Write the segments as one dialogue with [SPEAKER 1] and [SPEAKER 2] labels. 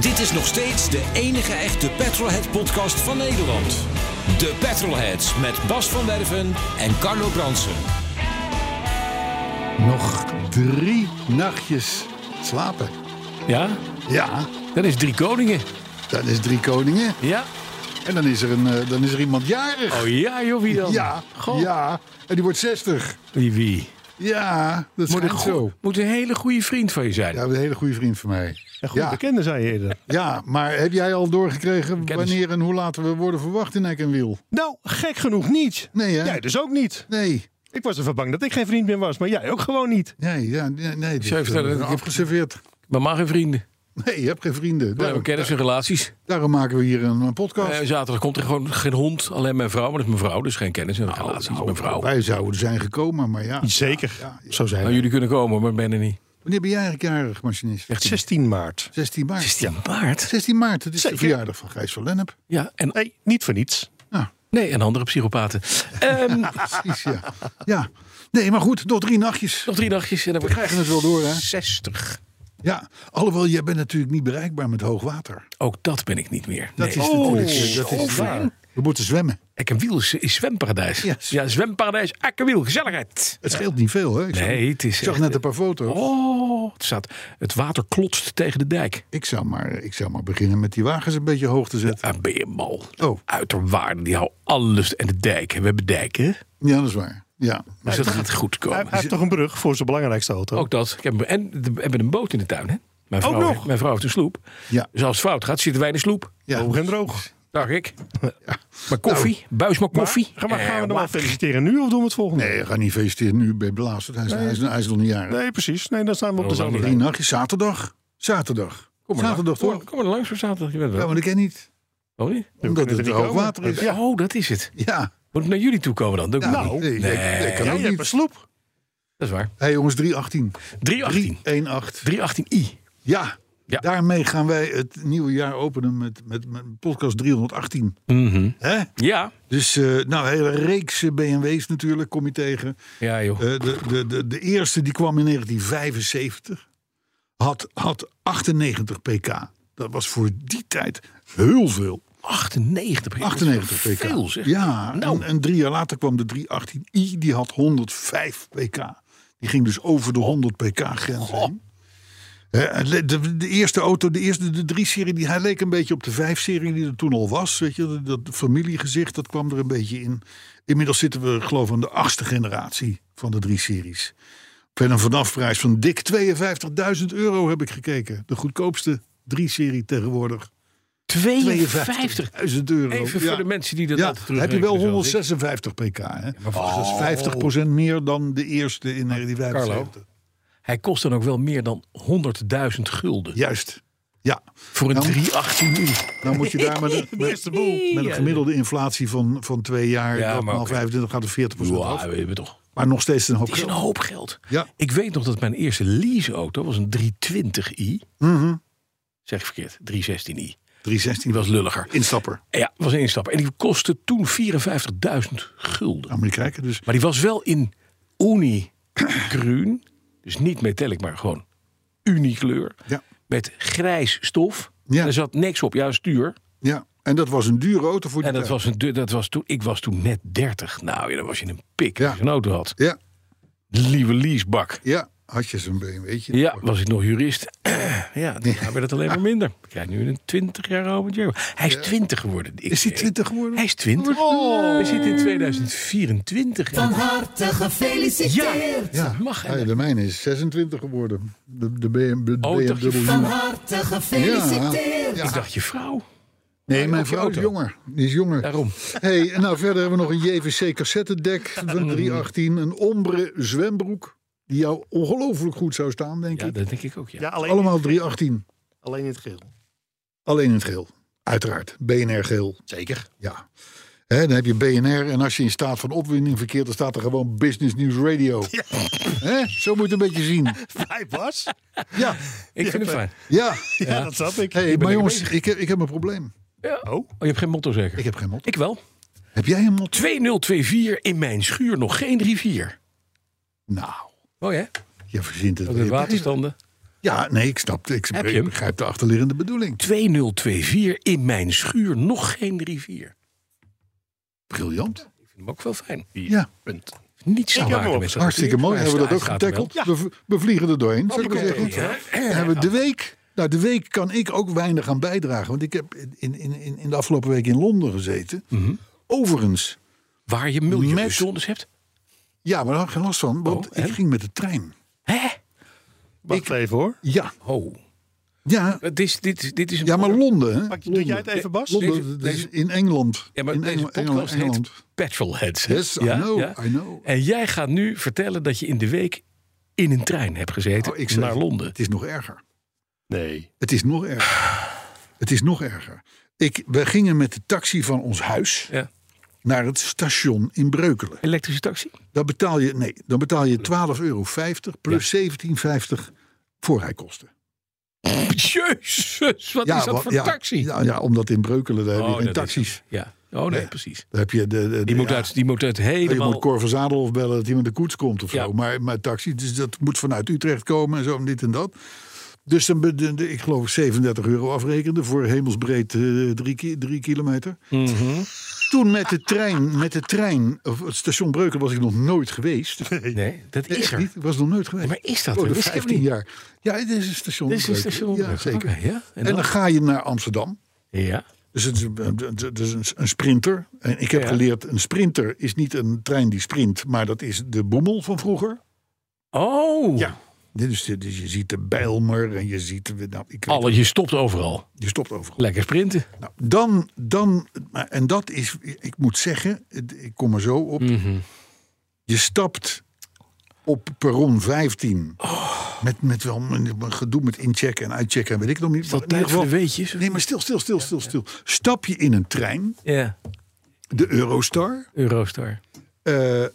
[SPEAKER 1] Dit is nog steeds de enige echte Petrolhead-podcast van Nederland. De Petrolheads met Bas van Werven en Carlo Bransen.
[SPEAKER 2] Nog drie nachtjes slapen.
[SPEAKER 3] Ja,
[SPEAKER 2] Ja,
[SPEAKER 3] dat is drie koningen.
[SPEAKER 2] dat is drie koningen.
[SPEAKER 3] Ja.
[SPEAKER 2] En dan is er, een, eh, dan is er iemand jarig.
[SPEAKER 3] Oh ja, joh, wie dan?
[SPEAKER 2] ja,
[SPEAKER 3] Goh.
[SPEAKER 2] ja. En die wordt 60.
[SPEAKER 3] Wie, wie?
[SPEAKER 2] Ja, dat is
[SPEAKER 3] Moet een,
[SPEAKER 2] goed
[SPEAKER 3] goe-
[SPEAKER 2] zo.
[SPEAKER 3] moet een hele goede vriend van je zijn.
[SPEAKER 2] Ja, een hele goede vriend van mij.
[SPEAKER 4] Ja, goed,
[SPEAKER 2] Ja,
[SPEAKER 4] bekende zei je eerder.
[SPEAKER 2] ja, maar heb jij al doorgekregen
[SPEAKER 3] Kennis.
[SPEAKER 2] wanneer en hoe laten we worden verwacht in Eck en Wiel?
[SPEAKER 4] Nou, gek genoeg niet.
[SPEAKER 2] Nee, hè?
[SPEAKER 4] Jij dus ook niet.
[SPEAKER 2] Nee,
[SPEAKER 4] Ik was ervan bang dat ik geen vriend meer was, maar jij ook gewoon niet.
[SPEAKER 2] nee, ja, nee. nee dit
[SPEAKER 3] Zo heeft
[SPEAKER 2] is,
[SPEAKER 3] dat-
[SPEAKER 2] eh,
[SPEAKER 3] ik heb-
[SPEAKER 2] afgeserveerd.
[SPEAKER 3] Maar maar geen vrienden.
[SPEAKER 2] Nee, je hebt geen vrienden.
[SPEAKER 3] We hebben
[SPEAKER 2] Daarom,
[SPEAKER 3] kennis en relaties.
[SPEAKER 2] daarom maken we hier een, een podcast.
[SPEAKER 3] Eh, zaterdag komt er gewoon geen hond, alleen mijn vrouw. Maar dat is mijn vrouw, dus geen kennis en
[SPEAKER 4] Nou,
[SPEAKER 3] relaties. mijn vrouw.
[SPEAKER 2] Wij zouden zijn gekomen, maar ja.
[SPEAKER 4] Zeker. Zo zijn
[SPEAKER 3] Nou,
[SPEAKER 4] we.
[SPEAKER 3] jullie kunnen komen, maar ik ben er niet.
[SPEAKER 2] Wanneer ben jij eigenlijk jarig, machinist?
[SPEAKER 4] 16 maart.
[SPEAKER 2] 16 maart.
[SPEAKER 3] 16 maart?
[SPEAKER 2] 16 maart, het is de
[SPEAKER 4] Zeker.
[SPEAKER 2] verjaardag van Gijs van Lennep.
[SPEAKER 3] Ja, en,
[SPEAKER 4] Nee, niet voor niets.
[SPEAKER 3] nee, en andere psychopaten. Ehm,
[SPEAKER 2] Precies, ja. ja. Nee, maar goed, nog drie nachtjes.
[SPEAKER 3] nog drie dagjes en
[SPEAKER 2] We
[SPEAKER 3] dan wordt
[SPEAKER 2] krijgen het wel door, hè?
[SPEAKER 3] 60.
[SPEAKER 2] Ja, alhoewel, jij bent natuurlijk niet bereikbaar met hoogwater.
[SPEAKER 3] Ook dat ben ik niet meer.
[SPEAKER 2] Dat
[SPEAKER 3] Nee. Oh,
[SPEAKER 2] is natuurlijk... eh, Dat is waar. We moeten zwemmen.
[SPEAKER 3] Ik een wiel is, is zwemparadijs.
[SPEAKER 2] Yes.
[SPEAKER 3] Ja, zwemparadijs, ik een wiel, gezelligheid.
[SPEAKER 2] Het scheelt niet veel, hè? Ik zag,
[SPEAKER 3] Nee, het is
[SPEAKER 2] ik zag
[SPEAKER 3] echt-
[SPEAKER 2] net een paar foto's.
[SPEAKER 3] Oh, het, staat, het water klotst tegen de dijk.
[SPEAKER 2] Ik, zou maar, ik zou maar beginnen met die wagens een beetje hoog te zetten.
[SPEAKER 3] Daar Ah, ben je mal.
[SPEAKER 2] Oh.
[SPEAKER 3] Uiterwaarden, die houden alles. En de dijken, we hebben dijken. hè?
[SPEAKER 2] Ja, dat is waar. Ja.
[SPEAKER 3] Dus dat gaat goed
[SPEAKER 4] Hij,
[SPEAKER 3] komen.
[SPEAKER 4] hij heeft toch een brug voor zijn belangrijkste auto.
[SPEAKER 3] Ook dat. Ik heb, en de- we hebben een boot in de tuin, hè? Mijn vrouw,
[SPEAKER 4] Ook nog?
[SPEAKER 3] Mijn vrouw heeft een sloep.
[SPEAKER 2] Ja.
[SPEAKER 3] Dus als het fout gaat, zitten wij in de sloep.
[SPEAKER 2] ja. Nou.
[SPEAKER 4] Hoog en droog.
[SPEAKER 3] Dag ik. Maar koffie, buis maar koffie.
[SPEAKER 4] Maar, maar gaan we
[SPEAKER 3] Eh,
[SPEAKER 4] hem al
[SPEAKER 3] water.
[SPEAKER 4] feliciteren nu of doen we het volgende?
[SPEAKER 2] Nee, ga niet feesteren nu bij Blaas. Hij is, hij is, hij is nog niet jarig.
[SPEAKER 4] Nee, precies. Nee, dan staan we op
[SPEAKER 3] Oh,
[SPEAKER 4] de
[SPEAKER 3] dat
[SPEAKER 4] zone.
[SPEAKER 3] niet.
[SPEAKER 2] Drie nachtjes, zaterdag. Zaterdag.
[SPEAKER 3] Kom maar
[SPEAKER 2] zaterdag,
[SPEAKER 3] langs.
[SPEAKER 2] toch?
[SPEAKER 3] Kom, kom maar langs voor zaterdag. Je bent
[SPEAKER 2] Ja,
[SPEAKER 3] wel.
[SPEAKER 2] maar dat ken je niet.
[SPEAKER 3] Oh, niet?
[SPEAKER 2] Omdat
[SPEAKER 4] kunnen
[SPEAKER 2] het
[SPEAKER 4] er niet
[SPEAKER 2] hoogwater
[SPEAKER 4] komen.
[SPEAKER 2] is.
[SPEAKER 3] Ja, oh, dat is het.
[SPEAKER 2] Ja.
[SPEAKER 3] Moet ik naar jullie toe komen dan? Doe ik
[SPEAKER 2] Ja, Nou.
[SPEAKER 3] dat
[SPEAKER 2] nee,
[SPEAKER 3] niet.
[SPEAKER 2] nee,
[SPEAKER 3] Nee.
[SPEAKER 2] dat kan
[SPEAKER 4] Jij
[SPEAKER 2] ook
[SPEAKER 4] hebt een
[SPEAKER 2] niet.
[SPEAKER 4] sloep.
[SPEAKER 3] Dat is waar.
[SPEAKER 2] Hé hey jongens, 318.
[SPEAKER 3] 318.
[SPEAKER 2] 318.
[SPEAKER 3] 318i.
[SPEAKER 2] Ja,
[SPEAKER 3] Ja.
[SPEAKER 2] daarmee gaan wij het nieuwe jaar openen met, met, met podcast 318. Hè?
[SPEAKER 3] Ja.
[SPEAKER 2] Dus eh, nou, een hele reeks eh, BMW's natuurlijk kom je tegen.
[SPEAKER 3] Ja, joh.
[SPEAKER 2] Eh, de, de, de, de eerste die kwam in 1975 had, had 98 pk. Dat was voor die tijd heel veel.
[SPEAKER 3] 98. joh.
[SPEAKER 2] 98 pk.
[SPEAKER 3] Veel, zeg.
[SPEAKER 2] Ja,
[SPEAKER 3] Nou.
[SPEAKER 2] en, en drie jaar later kwam de 318i, die had 105 pk. Die ging dus over de 100 pk grens heen. Eh, en le- De, de eerste auto, de eerste, de 3-serie, die, hij leek een beetje op de 5-serie die er toen al was. Weet je, dat, dat familiegezicht, dat kwam er een beetje in. Inmiddels zitten we, geloof ik, aan de achtste generatie van de 3-series. Met een vanafprijs van dik 52.000 euro heb ik gekeken. De goedkoopste 3-serie tegenwoordig.
[SPEAKER 3] 52.
[SPEAKER 2] 52.000 euro.
[SPEAKER 3] Even
[SPEAKER 2] Ja.
[SPEAKER 3] voor de mensen die dat
[SPEAKER 2] Ja,
[SPEAKER 3] altijd
[SPEAKER 2] heb je wel
[SPEAKER 3] terugrekenen, zoals ik.
[SPEAKER 2] 156 pk. Hè? Dus dat is 50% meer dan de eerste in 1975.
[SPEAKER 3] Hij kost dan ook wel meer dan 100.000 gulden.
[SPEAKER 2] Juist. Ja,
[SPEAKER 3] Voor een
[SPEAKER 2] Nou.
[SPEAKER 3] 318 i.
[SPEAKER 2] nou moet je daar maar de, met, met een gemiddelde inflatie van, van twee jaar,
[SPEAKER 3] Ja,
[SPEAKER 2] dat
[SPEAKER 3] maar
[SPEAKER 2] maal
[SPEAKER 3] oké.
[SPEAKER 2] 25 gaat er 40
[SPEAKER 3] Ja,
[SPEAKER 2] af.
[SPEAKER 3] we hebben toch.
[SPEAKER 2] Maar nog steeds een hoop
[SPEAKER 3] Het is een
[SPEAKER 2] geld.
[SPEAKER 3] hoop geld.
[SPEAKER 2] Ja.
[SPEAKER 3] Ik weet nog dat mijn eerste leaseauto was een 320i.
[SPEAKER 2] Mhm.
[SPEAKER 3] Zeg ik verkeerd, 316i. Die
[SPEAKER 2] 316
[SPEAKER 3] was lulliger.
[SPEAKER 2] instapper.
[SPEAKER 3] Ja, was een instap. En die kostte toen 54.000 gulden.
[SPEAKER 2] Nou moet je kijken. Dus
[SPEAKER 3] Maar die was wel in uni-groen. Dus niet metallic, maar gewoon unikleur.
[SPEAKER 2] Ja.
[SPEAKER 3] Met grijs stof.
[SPEAKER 2] Ja.
[SPEAKER 3] En er zat niks op. Ja, een stuur.
[SPEAKER 2] ja, en dat was een dure auto voor die
[SPEAKER 3] En dat
[SPEAKER 2] tijd.
[SPEAKER 3] was een, du- dat was toen, ik was toen net 30. Nou, ja, dan was je een pik
[SPEAKER 2] Ja.
[SPEAKER 3] als je een auto had.
[SPEAKER 2] Ja,
[SPEAKER 3] Lieve leasebak.
[SPEAKER 2] ja, had je zo'n BMW'tje.
[SPEAKER 3] Ja, was ik nog jurist. ja, dan werd het alleen maar minder. Ik krijg nu een 20 jaar oud jaar. Hij is 20 geworden. Oh. Ik
[SPEAKER 2] Is die
[SPEAKER 3] weet.
[SPEAKER 2] 20 geworden?
[SPEAKER 3] Hij is 20. We zitten in 2024.
[SPEAKER 5] Van harte gefeliciteerd.
[SPEAKER 2] ja.
[SPEAKER 3] mag, hè?
[SPEAKER 2] Ja, de mijne is 26 geworden. De, de BM, de
[SPEAKER 3] Oh, ik dacht je
[SPEAKER 2] BMW.
[SPEAKER 5] Van harte gefeliciteerd.
[SPEAKER 3] Ik dacht, je vrouw.
[SPEAKER 2] Nee, mijn
[SPEAKER 3] op je
[SPEAKER 2] vrouw is
[SPEAKER 3] auto.
[SPEAKER 2] jonger. oh, Die is jonger.
[SPEAKER 3] Daarom.
[SPEAKER 2] Hey, en nou verder hebben we nog een JVC cassettedek van 318. Een ombre zwembroek. Die jou ongelooflijk goed zou staan, denk
[SPEAKER 3] Ja,
[SPEAKER 2] ik.
[SPEAKER 3] dat denk ik ook, ja.
[SPEAKER 4] Ja, alleen
[SPEAKER 2] Allemaal 318.
[SPEAKER 4] Alleen in het geel.
[SPEAKER 2] Alleen in het geel. Uiteraard. BNR geel.
[SPEAKER 3] Zeker.
[SPEAKER 2] Ja. Hè, dan heb je BNR en als je in staat van opwinding verkeert, dan staat er gewoon Business News Radio. Hè? Zo moet je het een beetje zien.
[SPEAKER 4] Hij was?
[SPEAKER 2] Ja,
[SPEAKER 3] Ik vind het fijn.
[SPEAKER 2] ja.
[SPEAKER 4] Ja, dat snap ik.
[SPEAKER 2] Hey,
[SPEAKER 4] Ik ben
[SPEAKER 2] maar
[SPEAKER 4] er
[SPEAKER 2] jongens,
[SPEAKER 4] mee.
[SPEAKER 2] ik heb, ik heb een probleem.
[SPEAKER 3] Oh. je hebt geen motto zeker?
[SPEAKER 2] Ik heb geen mot.
[SPEAKER 3] Ik wel.
[SPEAKER 2] Heb jij een mot?
[SPEAKER 3] 2024 in mijn schuur nog geen rivier.
[SPEAKER 2] Nou,
[SPEAKER 3] Mooi hè?
[SPEAKER 2] je verzint het.
[SPEAKER 3] Ook
[SPEAKER 2] weer.
[SPEAKER 3] de waterstanden.
[SPEAKER 2] Ja, nee, ik snap het. Ik
[SPEAKER 3] Heb je hem?
[SPEAKER 2] begrijp de achterliggende bedoeling.
[SPEAKER 3] 2024 in mijn schuur nog geen rivier.
[SPEAKER 2] Briljant.
[SPEAKER 3] Ik vind hem ook wel fijn.
[SPEAKER 2] Ja.
[SPEAKER 3] Punt. Niets te
[SPEAKER 4] heb hem
[SPEAKER 3] maken
[SPEAKER 4] ook.
[SPEAKER 3] met dat
[SPEAKER 2] Hartstikke
[SPEAKER 3] rivier.
[SPEAKER 2] mooi. Hebben we dat ook
[SPEAKER 3] Hij staat er wel.
[SPEAKER 2] getackled? We, v- we vliegen er doorheen, zou ik maar zeggen. En hebben we de week. Nou, de week kan ik ook weinig aan bijdragen. Want ik heb in, in, in in de afgelopen week in Londen gezeten.
[SPEAKER 3] Mhm.
[SPEAKER 2] Overigens,
[SPEAKER 3] Waar je
[SPEAKER 2] Met-
[SPEAKER 3] miljoenen hebt.
[SPEAKER 2] ja, maar daar had ik geen last van. Want
[SPEAKER 3] Oh, en?
[SPEAKER 2] ik ging met de trein.
[SPEAKER 3] Hè?
[SPEAKER 4] Wacht even hoor.
[SPEAKER 2] Ja,
[SPEAKER 3] Oh.
[SPEAKER 2] ja,
[SPEAKER 3] Dit is, dit, dit is een
[SPEAKER 2] ja maar Londen. Hè?
[SPEAKER 4] Pak, doe jij het even, Bas?
[SPEAKER 2] Londen,
[SPEAKER 3] deze-
[SPEAKER 2] dat is
[SPEAKER 3] deze-
[SPEAKER 2] in Engeland.
[SPEAKER 3] Ja, maar
[SPEAKER 2] in
[SPEAKER 3] deze
[SPEAKER 2] Engel-
[SPEAKER 3] podcast
[SPEAKER 2] Engel- Engeland.
[SPEAKER 3] heet Petrolheads. hè?
[SPEAKER 2] Yes, I know, I know.
[SPEAKER 3] En jij gaat nu vertellen dat je in de week in een trein hebt gezeten
[SPEAKER 2] Nou, ik zeg-
[SPEAKER 3] naar Londen.
[SPEAKER 2] Het is nog erger.
[SPEAKER 4] Nee.
[SPEAKER 2] Het is nog erger. Het is nog erger. Ik, we gingen met de taxi van ons huis
[SPEAKER 3] Ja.
[SPEAKER 2] naar het station in Breukelen.
[SPEAKER 3] Elektrische taxi?
[SPEAKER 2] Dan betaal je, nee, dan betaal je 12,50 euro plus 17,50 voorrijkosten.
[SPEAKER 3] Jezus, wat is dat
[SPEAKER 2] wa-
[SPEAKER 3] voor taxi?
[SPEAKER 2] Ja, ja, omdat in Breukelen daar heb
[SPEAKER 3] Oh,
[SPEAKER 2] je geen
[SPEAKER 3] dat is-
[SPEAKER 2] taxis.
[SPEAKER 3] Ja. Oh nee, precies.
[SPEAKER 2] Daar heb je de, de- de-
[SPEAKER 3] Die moet,
[SPEAKER 2] ja,
[SPEAKER 3] uit, die moet uit
[SPEAKER 2] je
[SPEAKER 3] helemaal...
[SPEAKER 2] moet Cor van Zadelhof bellen dat iemand de koets komt of
[SPEAKER 3] Ja.
[SPEAKER 2] zo. Maar, maar taxi, dus dat moet vanuit Utrecht komen en zo en dit en dat. Dus dan, be- de- de- ik geloof 37 euro afrekende voor hemelsbreed eh, drie, ki- drie kilometer.
[SPEAKER 3] Mhm.
[SPEAKER 2] Toen met de trein, met de trein, of het station Breuken was ik nog nooit geweest.
[SPEAKER 3] Nee, dat is
[SPEAKER 2] Echt
[SPEAKER 3] er.
[SPEAKER 2] niet, ik was nog nooit geweest.
[SPEAKER 3] Maar is dat
[SPEAKER 2] Oh,
[SPEAKER 3] er?
[SPEAKER 2] de
[SPEAKER 3] Wist ik
[SPEAKER 2] 15
[SPEAKER 3] niet.
[SPEAKER 2] jaar. Ja, het is een station.
[SPEAKER 3] Dit is een
[SPEAKER 2] Breuken.
[SPEAKER 3] station.
[SPEAKER 2] Ja, zeker.
[SPEAKER 3] Oké, ja. En
[SPEAKER 2] En,
[SPEAKER 3] dan?
[SPEAKER 2] dan ga je naar Amsterdam.
[SPEAKER 3] Ja.
[SPEAKER 2] Dus het is, een- het is een, een sprinter. En ik heb
[SPEAKER 3] Ja.
[SPEAKER 2] geleerd, een sprinter is niet een trein die sprint, maar dat is de boemel van vroeger.
[SPEAKER 3] Oh.
[SPEAKER 2] Dit is de- dus je ziet de Bijlmer en je ziet... de- Nou, ik weet-
[SPEAKER 3] Alle, je stopt overal.
[SPEAKER 2] Je stopt overal.
[SPEAKER 3] Lekker sprinten.
[SPEAKER 2] Nou, dan, dan, maar- en dat is, ik moet zeggen, het- ik kom er zo op.
[SPEAKER 3] Mhm.
[SPEAKER 2] Je stapt op perron 15.
[SPEAKER 3] Oh.
[SPEAKER 2] Met, met wel een een gedoe met inchecken en uitchecken en weet ik nog niet.
[SPEAKER 3] Dat
[SPEAKER 2] Maar in ieder
[SPEAKER 3] tijd voor de
[SPEAKER 2] geval-
[SPEAKER 3] weetjes.
[SPEAKER 2] Nee, maar stil, stil, stil, stil, stil. Stap je in een trein,
[SPEAKER 3] Ja.
[SPEAKER 2] de Eurostar.
[SPEAKER 3] Eurostar.
[SPEAKER 2] eh, eh,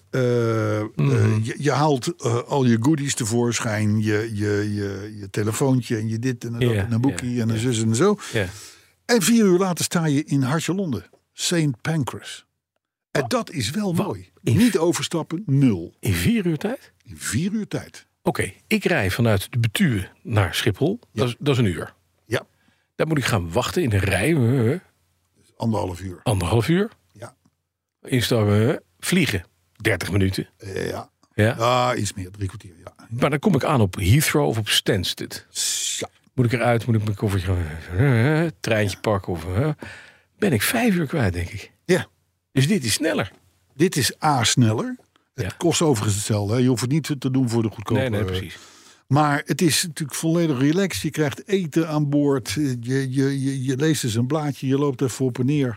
[SPEAKER 2] eh,
[SPEAKER 3] Mhm.
[SPEAKER 2] je, je haalt eh, al je goodies tevoorschijn. Je, je, je, je telefoontje en je dit en dat
[SPEAKER 3] Ja,
[SPEAKER 2] en een boekje
[SPEAKER 3] ja,
[SPEAKER 2] en een zus en zo.
[SPEAKER 3] Ja.
[SPEAKER 2] En vier uur later sta je in hartje Londen. St. Pancras. En dat is wel mooi. Niet overstappen, nul.
[SPEAKER 3] In vier uur tijd?
[SPEAKER 2] In vier uur tijd.
[SPEAKER 3] Oké, ik rij vanuit de Betuwe naar Schiphol. Dat, is, dat is een uur.
[SPEAKER 2] Ja,
[SPEAKER 3] Daar moet ik gaan wachten in een rij. eh, eh,
[SPEAKER 2] anderhalf uur.
[SPEAKER 3] Anderhalf uur.
[SPEAKER 2] Ja.
[SPEAKER 3] Instappen. eh, Vliegen. 30 minuten.
[SPEAKER 2] Eh, ja.
[SPEAKER 3] Ja.
[SPEAKER 2] Ah, iets meer, drie kwartier. Ja.
[SPEAKER 3] Maar dan kom ik aan op Heathrow of op Stansted.
[SPEAKER 2] ja.
[SPEAKER 3] Moet ik eruit? Moet ik mijn koffertje gaan? eh, eh, Treintje pakken? Of, eh, ben ik vijf uur kwijt, denk ik.
[SPEAKER 2] Ja.
[SPEAKER 3] Dus dit is sneller.
[SPEAKER 2] Dit is A, sneller. Het
[SPEAKER 3] Ja.
[SPEAKER 2] kost overigens hetzelfde. Hè. Je hoeft het niet te doen voor de goedkope.
[SPEAKER 3] Nee, nee,
[SPEAKER 2] eh,
[SPEAKER 3] precies.
[SPEAKER 2] Maar het is natuurlijk volledig relaxed. Je krijgt eten aan boord. Eh, Je, je, je, je leest eens een blaadje. Je loopt even op en neer.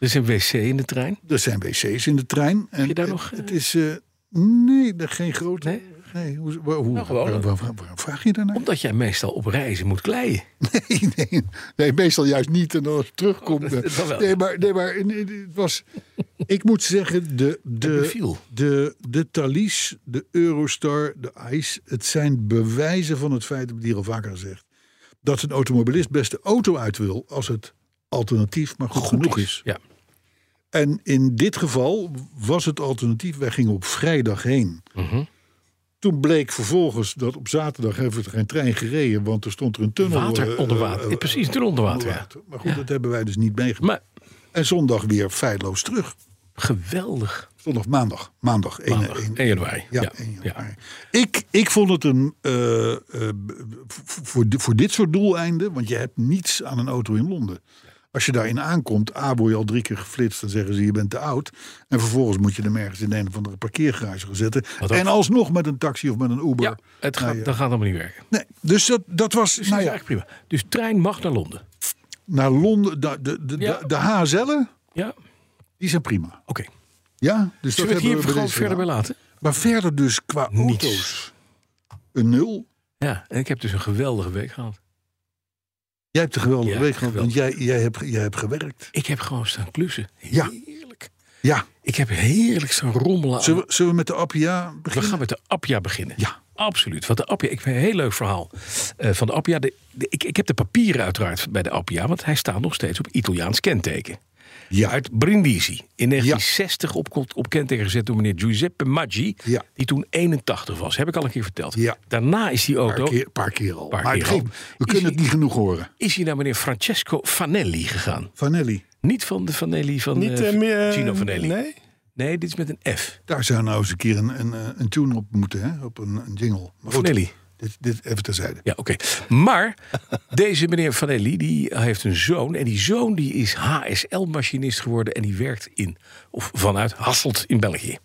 [SPEAKER 3] Er is Dus een wc in de trein.
[SPEAKER 2] Er zijn wc's in de trein. En
[SPEAKER 3] je daar
[SPEAKER 2] het,
[SPEAKER 3] nog, eh,
[SPEAKER 2] Het is... eh, nee, er geen grote...
[SPEAKER 3] Nee?
[SPEAKER 2] Nee, hoe, hoe, hoe-
[SPEAKER 3] Nou, gewoon.
[SPEAKER 2] waar- waar- waar- waarom vraag je daarnaar?
[SPEAKER 3] Omdat jij meestal op reizen moet kleien.
[SPEAKER 2] Nee, nee, nee, meestal juist niet. En als het terugkomt.
[SPEAKER 3] Oh, Dat- dat wel.
[SPEAKER 2] eh, nee, maar, nee, maar nee, nee, het was. Ik moet zeggen, de, de,
[SPEAKER 3] beviel.
[SPEAKER 2] de, de Thalys, de Eurostar, de ICE. Het zijn bewijzen van het feit, dat ik hier al vaker gezegd. dat een automobilist best de auto uit wil. als het alternatief maar goed, genoeg is.
[SPEAKER 3] Ja.
[SPEAKER 2] En in dit geval was het alternatief. Wij gingen op vrijdag heen.
[SPEAKER 3] Mhm.
[SPEAKER 2] Toen bleek vervolgens dat op zaterdag heeft er geen trein gereden, want er stond er een tunnel.
[SPEAKER 3] Water
[SPEAKER 2] eh,
[SPEAKER 3] onder water.
[SPEAKER 2] eh,
[SPEAKER 3] Ja, precies, toen onder water. ja.
[SPEAKER 2] Maar goed, dat hebben wij dus niet meegemaakt.
[SPEAKER 3] Maar
[SPEAKER 2] En zondag weer feilloos terug.
[SPEAKER 3] geweldig.
[SPEAKER 2] Zondag, maandag. Maandag. één-
[SPEAKER 3] Maandag,
[SPEAKER 2] één-
[SPEAKER 3] 1 januari.
[SPEAKER 2] ja,
[SPEAKER 3] Ja,
[SPEAKER 2] één
[SPEAKER 3] ja.
[SPEAKER 2] januari. Ik, ik vond het een. eh, eh, voor, voor di- voor dit soort doeleinden. Want je hebt niets aan een auto in Londen. Als je daarin aankomt, A, word je al drie keer geflitst. Dan zeggen ze je bent te oud. En vervolgens moet je hem ergens in een of andere parkeergarage gaan zetten.
[SPEAKER 3] Wat ook.
[SPEAKER 2] En alsnog met een taxi of met een Uber.
[SPEAKER 3] Ja, het gaat,
[SPEAKER 2] Nou ja.
[SPEAKER 3] dat gaat allemaal niet werken.
[SPEAKER 2] Nee, dus dat, dat was.
[SPEAKER 3] Dus
[SPEAKER 2] nou
[SPEAKER 3] dat
[SPEAKER 2] ja,
[SPEAKER 3] is eigenlijk prima. Dus trein mag naar Londen.
[SPEAKER 2] naar Londen. De, de, de,
[SPEAKER 3] Ja.
[SPEAKER 2] de, de HSL'en,
[SPEAKER 3] Ja, oké.
[SPEAKER 2] die zijn prima. Ja, dus
[SPEAKER 3] Zullen
[SPEAKER 2] dat
[SPEAKER 3] we het hier
[SPEAKER 2] hebben we bij
[SPEAKER 3] gewoon
[SPEAKER 2] deze
[SPEAKER 3] verder bij
[SPEAKER 2] gedaan.
[SPEAKER 3] laten?
[SPEAKER 2] Maar verder dus qua
[SPEAKER 3] Niets.
[SPEAKER 2] auto's. Een nul.
[SPEAKER 3] Ja, en ik heb dus een geweldige week gehad.
[SPEAKER 2] Jij hebt een geweldige
[SPEAKER 3] Ja,
[SPEAKER 2] week gehad, want
[SPEAKER 3] geweldig.
[SPEAKER 2] jij, jij, hebt, jij hebt gewerkt.
[SPEAKER 3] Ik heb gewoon staan klussen.
[SPEAKER 2] Ja.
[SPEAKER 3] Heerlijk.
[SPEAKER 2] Ja.
[SPEAKER 3] Ik heb heerlijk staan rommelen. aan-
[SPEAKER 2] Zullen we, zullen we met de Appia
[SPEAKER 3] We
[SPEAKER 2] beginnen?
[SPEAKER 3] gaan met de Appia beginnen.
[SPEAKER 2] Ja.
[SPEAKER 3] Absoluut. Want de Appia, ik vind een heel leuk verhaal eh, van de Appia. De, de- ik, ik heb de papieren uiteraard bij de Appia, want hij staat nog steeds op Italiaans kenteken.
[SPEAKER 2] Ja.
[SPEAKER 3] Uit Brindisi. In 1960 op, op kenteken gezet door meneer Giuseppe Maggi,
[SPEAKER 2] Ja.
[SPEAKER 3] die toen 81 was. Heb ik al een keer verteld.
[SPEAKER 2] Ja.
[SPEAKER 3] Daarna is die
[SPEAKER 2] Een paar
[SPEAKER 3] auto
[SPEAKER 2] keer, paar keer al.
[SPEAKER 3] Paar
[SPEAKER 2] maar
[SPEAKER 3] keer
[SPEAKER 2] het geeft-
[SPEAKER 3] al.
[SPEAKER 2] we
[SPEAKER 3] Is
[SPEAKER 2] kunnen
[SPEAKER 3] ie-
[SPEAKER 2] het niet genoeg horen.
[SPEAKER 3] is hij naar meneer Francesco Fanelli gegaan.
[SPEAKER 2] Vanelli,
[SPEAKER 3] Niet van de Fanelli van
[SPEAKER 4] Niet
[SPEAKER 3] eh,
[SPEAKER 4] eh, meer. eh,
[SPEAKER 3] Gino Vanelli. Nee.
[SPEAKER 4] Nee?
[SPEAKER 3] dit is met een F.
[SPEAKER 2] daar zou nou eens een keer een, een, eh, een tune op moeten, hè? op een, een jingle. Maar goed,
[SPEAKER 3] Vanelli.
[SPEAKER 2] Dit, dit even terzijde.
[SPEAKER 3] Ja, oké. Maar deze meneer Vanelli, die heeft een zoon. En die zoon die is HSL-machinist geworden. En die werkt in, of vanuit Hasselt in België.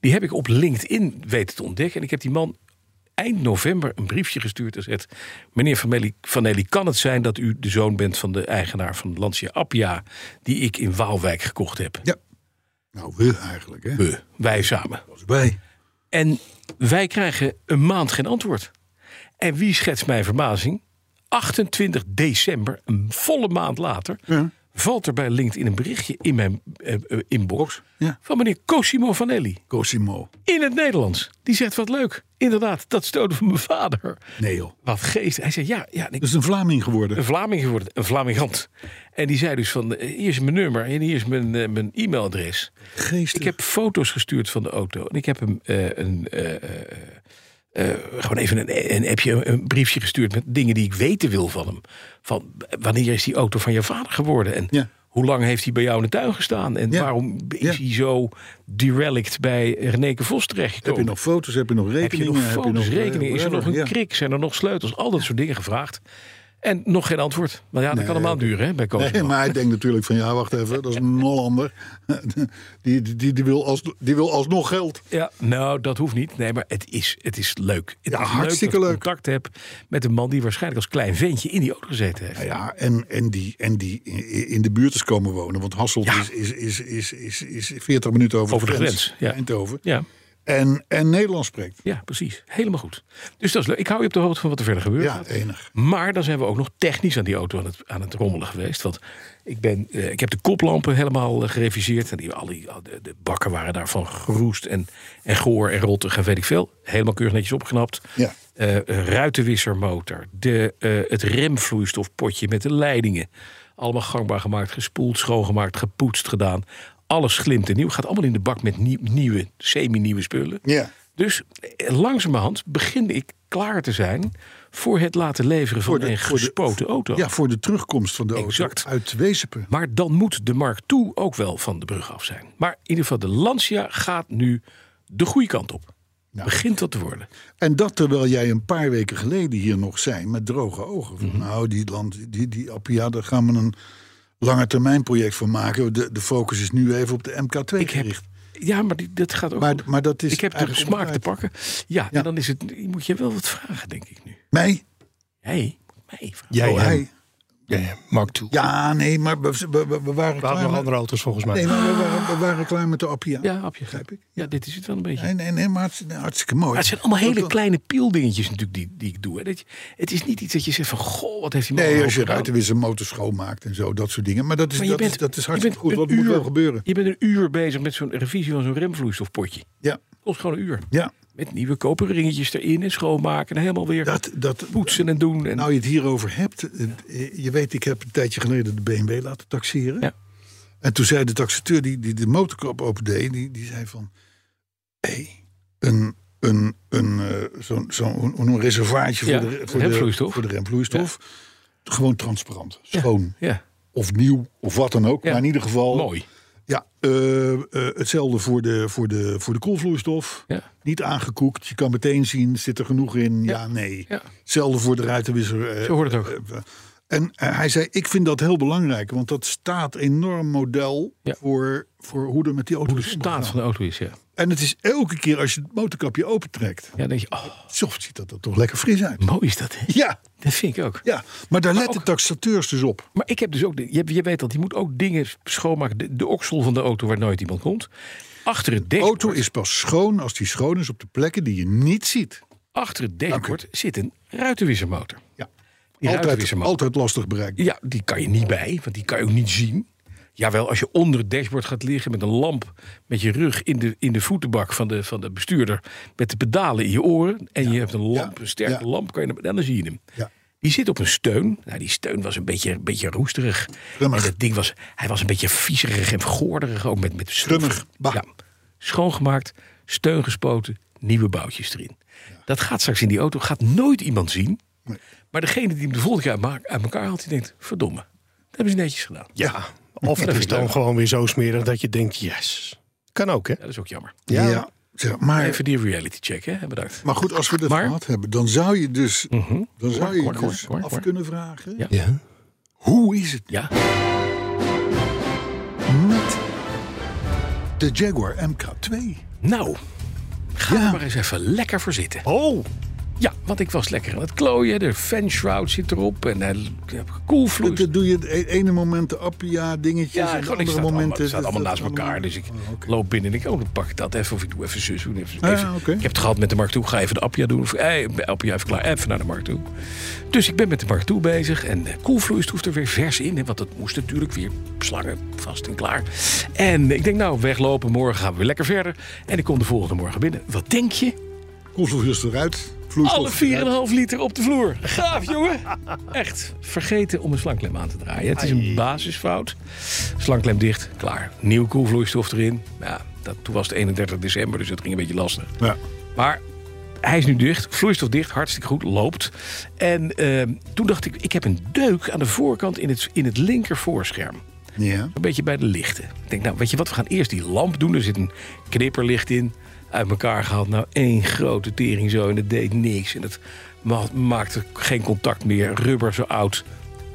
[SPEAKER 3] Die heb ik op LinkedIn weten te ontdekken. En ik heb die man eind november een briefje gestuurd. En zegt, meneer Vanelli, Vanelli, kan het zijn dat u de zoon bent van de eigenaar van Lancia Appia... die ik in Waalwijk gekocht heb?
[SPEAKER 2] Ja. Nou, we eigenlijk, hè?
[SPEAKER 3] We, wij samen.
[SPEAKER 2] Wij.
[SPEAKER 3] En wij krijgen een maand geen antwoord. En wie schetst mijn verbazing? 28 december, een volle maand later, valt er bij LinkedIn een berichtje in mijn eh, eh, inbox
[SPEAKER 2] Ja.
[SPEAKER 3] van meneer Cosimo Vanelli
[SPEAKER 2] Cosimo.
[SPEAKER 3] in het Nederlands. Die zegt wat leuk. Inderdaad, dat stoten van mijn vader.
[SPEAKER 2] Nee, joh.
[SPEAKER 3] Wat geest. Hij zegt ja, ja. en ik-
[SPEAKER 2] Dat is een Vlaming
[SPEAKER 3] een
[SPEAKER 2] geworden.
[SPEAKER 3] Vlaming geworden, een Vlamingant. En die zei dus van, eh, hier is mijn nummer en hier is mijn, eh, mijn e-mailadres.
[SPEAKER 2] Geestig.
[SPEAKER 3] Ik heb foto's gestuurd van de auto. En ik heb hem eh, een, eh, eh, eh, gewoon even een, een appje, een briefje gestuurd met dingen die ik weten wil van hem. Van eh, wanneer is die auto van je vader geworden? En
[SPEAKER 2] Ja.
[SPEAKER 3] hoe lang heeft hij bij jou in de tuin gestaan? En
[SPEAKER 2] Ja.
[SPEAKER 3] waarom is
[SPEAKER 2] Ja.
[SPEAKER 3] hij zo derelict bij Reneke Vos
[SPEAKER 2] Heb je
[SPEAKER 3] terechtgekomen?
[SPEAKER 2] nog foto's? Heb je nog
[SPEAKER 3] Heb je nog
[SPEAKER 2] rekeningen?
[SPEAKER 3] foto's,
[SPEAKER 2] eh,
[SPEAKER 3] rekeningen? Is er nog
[SPEAKER 2] whatever,
[SPEAKER 3] een
[SPEAKER 2] ja.
[SPEAKER 3] krik? Zijn er nog sleutels? Al dat soort dingen gevraagd. En nog geen antwoord. Maar ja, dat kan een maand duren hè, bij Cosimo.
[SPEAKER 2] Nee, maar hij denkt natuurlijk van ja, wacht even, dat is een Hollander. Die, die, die, die, wil als, die wil alsnog geld.
[SPEAKER 3] Ja, nou, dat hoeft niet. Nee, maar het is, het is leuk. Het
[SPEAKER 2] Ja,
[SPEAKER 3] is
[SPEAKER 2] hartstikke
[SPEAKER 3] dat ik
[SPEAKER 2] leuk.
[SPEAKER 3] contact heb met een man die waarschijnlijk als klein ventje in die auto gezeten heeft.
[SPEAKER 2] Nou ja, en, en, die, en die in- in de buurt is komen wonen. Want Hasselt
[SPEAKER 3] Ja.
[SPEAKER 2] is, is, is, is, is, is 40 minuten over,
[SPEAKER 3] Over de grens, ja.
[SPEAKER 2] Eindhoven.
[SPEAKER 3] Ja,
[SPEAKER 2] En, en Nederlands spreekt.
[SPEAKER 3] ja, precies. Helemaal goed. Dus dat is leuk. Ik hou je op de hoogte van wat er verder gebeurt.
[SPEAKER 2] Ja, enig.
[SPEAKER 3] Maar dan zijn we ook nog technisch aan die auto aan het, aan het rommelen geweest. Want ik, ben, eh, ik heb de koplampen helemaal eh, gereviseerd. En die, al die, al de, de bakken waren daarvan geroest en, en goor en rottig en weet ik veel. Helemaal keurig netjes opgeknapt.
[SPEAKER 2] Ja.
[SPEAKER 3] Eh, ruitenwissermotor. De, eh, het remvloeistofpotje met de leidingen. Allemaal gangbaar gemaakt, gespoeld, schoongemaakt, gepoetst gedaan. Alles glimt en nieuw. Gaat allemaal in de bak met nie- nieuwe, semi-nieuwe spullen.
[SPEAKER 2] Ja.
[SPEAKER 3] Dus eh, langzamerhand begin ik klaar te zijn voor het laten leveren van
[SPEAKER 2] Voor de-
[SPEAKER 3] een
[SPEAKER 2] voor de-
[SPEAKER 3] gespoten auto.
[SPEAKER 2] ja, voor de terugkomst van de auto
[SPEAKER 3] Exact.
[SPEAKER 2] uit Wezepen.
[SPEAKER 3] Maar dan moet de Mark II ook wel van de brug af zijn. Maar in ieder geval, de Lancia gaat nu de goede kant op. Begint dat te worden.
[SPEAKER 2] En dat terwijl jij een paar weken geleden hier nog zei met droge ogen.
[SPEAKER 3] Mhm.
[SPEAKER 2] Van, Nou, die, land, die, die Appia, daar gaan we een lange termijn project van maken. De, de focus is nu even op de MK2
[SPEAKER 3] Ik heb,
[SPEAKER 2] gericht.
[SPEAKER 3] ja, maar die, dat gaat ook
[SPEAKER 2] Maar,
[SPEAKER 3] goed.
[SPEAKER 2] maar dat is
[SPEAKER 3] ik heb de
[SPEAKER 2] eigenlijk
[SPEAKER 3] smaak te
[SPEAKER 2] onderuit.
[SPEAKER 3] pakken. Ja,
[SPEAKER 2] Ja.
[SPEAKER 3] en dan is het, moet je wel wat vragen, denk ik nu.
[SPEAKER 2] Mij?
[SPEAKER 3] Hey, mij vragen.
[SPEAKER 4] Jij,
[SPEAKER 2] oh,
[SPEAKER 4] hem.
[SPEAKER 2] hij.
[SPEAKER 4] Ja, ja, Mark toe.
[SPEAKER 2] Ja, nee, maar we, we, we- we waren
[SPEAKER 4] We hadden
[SPEAKER 2] klaar
[SPEAKER 4] nog
[SPEAKER 2] met...
[SPEAKER 4] andere auto's volgens mij.
[SPEAKER 2] Nee, maar we, waren, we waren klaar met de Appia.
[SPEAKER 3] Ja, heb je grijp ik. Ja, dit is het wel een beetje.
[SPEAKER 2] Nee, nee, nee, maar het is nou, hartstikke mooi.
[SPEAKER 3] Maar het zijn allemaal hele
[SPEAKER 2] Ook wel-
[SPEAKER 3] kleine pieldingetjes natuurlijk die, die ik doe. Hè. Dat je, het is niet iets dat je zegt van, goh, wat heeft die man
[SPEAKER 2] Nee,
[SPEAKER 3] allemaal
[SPEAKER 2] als je
[SPEAKER 3] gedaan.
[SPEAKER 2] ruitenwisser motor schoonmaakt en zo, dat soort dingen. Maar dat is,
[SPEAKER 3] Maar
[SPEAKER 2] dat is, dat is
[SPEAKER 3] je
[SPEAKER 2] hartstikke
[SPEAKER 3] bent
[SPEAKER 2] goed. Dat
[SPEAKER 3] een
[SPEAKER 2] moet
[SPEAKER 3] uur-
[SPEAKER 2] wel gebeuren.
[SPEAKER 3] Je bent een uur bezig met zo'n revisie van zo'n remvloeistofpotje.
[SPEAKER 2] Ja,
[SPEAKER 3] Kost gewoon een uur.
[SPEAKER 2] ja.
[SPEAKER 3] Met nieuwe koper ringetjes erin en schoonmaken en helemaal weer
[SPEAKER 2] Dat, dat,
[SPEAKER 3] poetsen en doen. En,
[SPEAKER 2] Nou, je het hierover hebt. eh, Je weet, ik heb een tijdje geleden de BMW laten taxeren.
[SPEAKER 3] Ja.
[SPEAKER 2] En toen zei de taxateur die, die de motorkap opendeed, die, die zei van... Hé, een, een, een, eh, zo'n zo'n hoe noem je, een reservaatje
[SPEAKER 3] Ja,
[SPEAKER 2] voor, de, voor,
[SPEAKER 3] remvloeistof.
[SPEAKER 2] De, voor de remvloeistof. Gewoon transparant,
[SPEAKER 3] Ja.
[SPEAKER 2] schoon
[SPEAKER 3] ja,
[SPEAKER 2] of nieuw of wat dan ook.
[SPEAKER 3] Ja.
[SPEAKER 2] Maar in ieder geval...
[SPEAKER 3] mooi.
[SPEAKER 2] Ja, eh, eh, hetzelfde voor de, voor, de, voor de koelvloeistof.
[SPEAKER 3] Ja.
[SPEAKER 2] Niet aangekoekt. Je kan meteen zien, zit er genoeg in? Ja,
[SPEAKER 3] Ja.
[SPEAKER 2] nee.
[SPEAKER 3] Ja.
[SPEAKER 2] Hetzelfde voor de ruitenwisser. eh,
[SPEAKER 3] Zo hoort het ook.
[SPEAKER 2] eh, En eh, hij zei, ik vind dat heel belangrijk. Want dat staat enorm model
[SPEAKER 3] Ja.
[SPEAKER 2] voor, voor hoe er met die auto
[SPEAKER 3] Hoe de
[SPEAKER 2] is
[SPEAKER 3] staat
[SPEAKER 2] omgegaan.
[SPEAKER 3] van de auto is, ja.
[SPEAKER 2] En het is elke keer als je het motorkapje opentrekt.
[SPEAKER 3] Ja, dan denk je, oh,
[SPEAKER 2] Soft ziet dat er toch lekker fris uit.
[SPEAKER 3] mooi is dat. hè?
[SPEAKER 2] Ja,
[SPEAKER 3] Dat vind ik ook.
[SPEAKER 2] ja. maar daar letten
[SPEAKER 3] ook-
[SPEAKER 2] taxateurs dus op.
[SPEAKER 3] Maar ik heb dus ook, je, je weet dat, je moet ook dingen schoonmaken. De, de oksel van de auto waar nooit iemand komt. Achter het
[SPEAKER 2] De
[SPEAKER 3] dashboard,
[SPEAKER 2] auto is pas schoon als die schoon is op de plekken die je niet ziet.
[SPEAKER 3] achter het dashboard zit een ruitenwissermotor.
[SPEAKER 2] Ja.
[SPEAKER 3] Die
[SPEAKER 2] Altijd,
[SPEAKER 3] ruitenwisserman.
[SPEAKER 2] altijd lastig bereikbaar.
[SPEAKER 3] Ja, die kan je niet bij, want die kan je ook niet zien. Jawel, als je onder het dashboard gaat liggen met een lamp met je rug in de, in de voetenbak van de, van de bestuurder, met de pedalen in je oren en je hebt een lamp, een sterke
[SPEAKER 2] Ja.
[SPEAKER 3] lamp, kan je, hem- dan zie je hem.
[SPEAKER 2] Ja.
[SPEAKER 3] Die zit op een steun. Nou, die steun was een beetje, een beetje roesterig.
[SPEAKER 2] Krummig.
[SPEAKER 3] En dat ding was, hij was een beetje viezerig en vergoorderig, ook met, met stof.
[SPEAKER 2] Krummig, bah.
[SPEAKER 3] Ja. Schoongemaakt, steun gespoten, nieuwe boutjes erin. Dat gaat straks in die auto, gaat nooit iemand zien. Maar degene die hem de volgende keer uit ma- uit elkaar haalt, die denkt: verdomme, dat hebben ze netjes gedaan.
[SPEAKER 4] Ja. Of het is dan gewoon weer zo smerig dat je denkt, yes. Kan ook, hè?
[SPEAKER 3] Ja, dat is ook jammer.
[SPEAKER 2] Ja. Zeg, maar,
[SPEAKER 3] Even die reality check, hè? Bedankt.
[SPEAKER 2] maar goed, als we dat
[SPEAKER 3] Maar- Mhm.
[SPEAKER 2] gehad hebben, dan zou je dus, dan zou je
[SPEAKER 3] hoor, hoor,
[SPEAKER 2] dus
[SPEAKER 3] hoor,
[SPEAKER 2] af
[SPEAKER 3] hoor.
[SPEAKER 2] kunnen vragen:
[SPEAKER 3] Ja.
[SPEAKER 4] Ja.
[SPEAKER 2] hoe is het
[SPEAKER 3] Ja,
[SPEAKER 2] met de Jaguar MK2?
[SPEAKER 3] nou, ga
[SPEAKER 2] Ja.
[SPEAKER 3] er maar eens even lekker voor zitten.
[SPEAKER 4] Oh,
[SPEAKER 3] Ja, want ik was lekker aan het klooien. De fanshroud zit erop en eh, ik heb koelvloes.
[SPEAKER 2] Dat doe je het e- ene moment de Appia-dingetjes
[SPEAKER 3] Ja,
[SPEAKER 2] en het
[SPEAKER 3] gewoon,
[SPEAKER 2] andere
[SPEAKER 3] ik sta het allemaal,
[SPEAKER 2] moment...
[SPEAKER 3] het staat allemaal
[SPEAKER 2] dat-
[SPEAKER 3] naast elkaar. Dus ik loop binnen en ik, oh, dan pak ik dat even. Of ik doe even zus. Doen, even,
[SPEAKER 2] Ah,
[SPEAKER 3] even-
[SPEAKER 2] oké.
[SPEAKER 3] Ik heb het gehad met de Mark Toe. Ga even de Appia doen. Of, hey, Appia even klaar. Even naar de Mark Toe. Dus ik ben met de Mark Toe bezig. En eh, koelvloeistof hoeft er weer vers in. hè, Want dat moest natuurlijk weer slangen vast en klaar. En ik denk, nou, weglopen. Morgen gaan we weer lekker verder. En ik kom de volgende morgen binnen. Wat denk je?
[SPEAKER 2] Koelvloeistof is Oh, eruit, vloeistof
[SPEAKER 3] Alle
[SPEAKER 2] is
[SPEAKER 3] 4,5 liter op de vloer. Gaaf, jongen. Echt. Vergeten om een slangklem aan te draaien. Het is een basisfout. Slangklem dicht, klaar. Nieuw koelvloeistof erin. Ja, dat, toen was het 31 december, dus dat ging een beetje lastig.
[SPEAKER 2] Ja.
[SPEAKER 3] Maar hij is nu dicht, vloeistof dicht, hartstikke goed, loopt. En ehm, toen dacht ik, ik heb een deuk aan de voorkant in het, in het linker voorscherm.
[SPEAKER 2] Ja.
[SPEAKER 3] Een beetje bij de lichten. Ik denk, nou, weet je wat, we gaan eerst die lamp doen. Er zit een knipperlicht in. Uit elkaar gehaald. Nou, één grote tering zo. En het deed niks. En het ma- maakte geen contact meer. Rubber zo oud.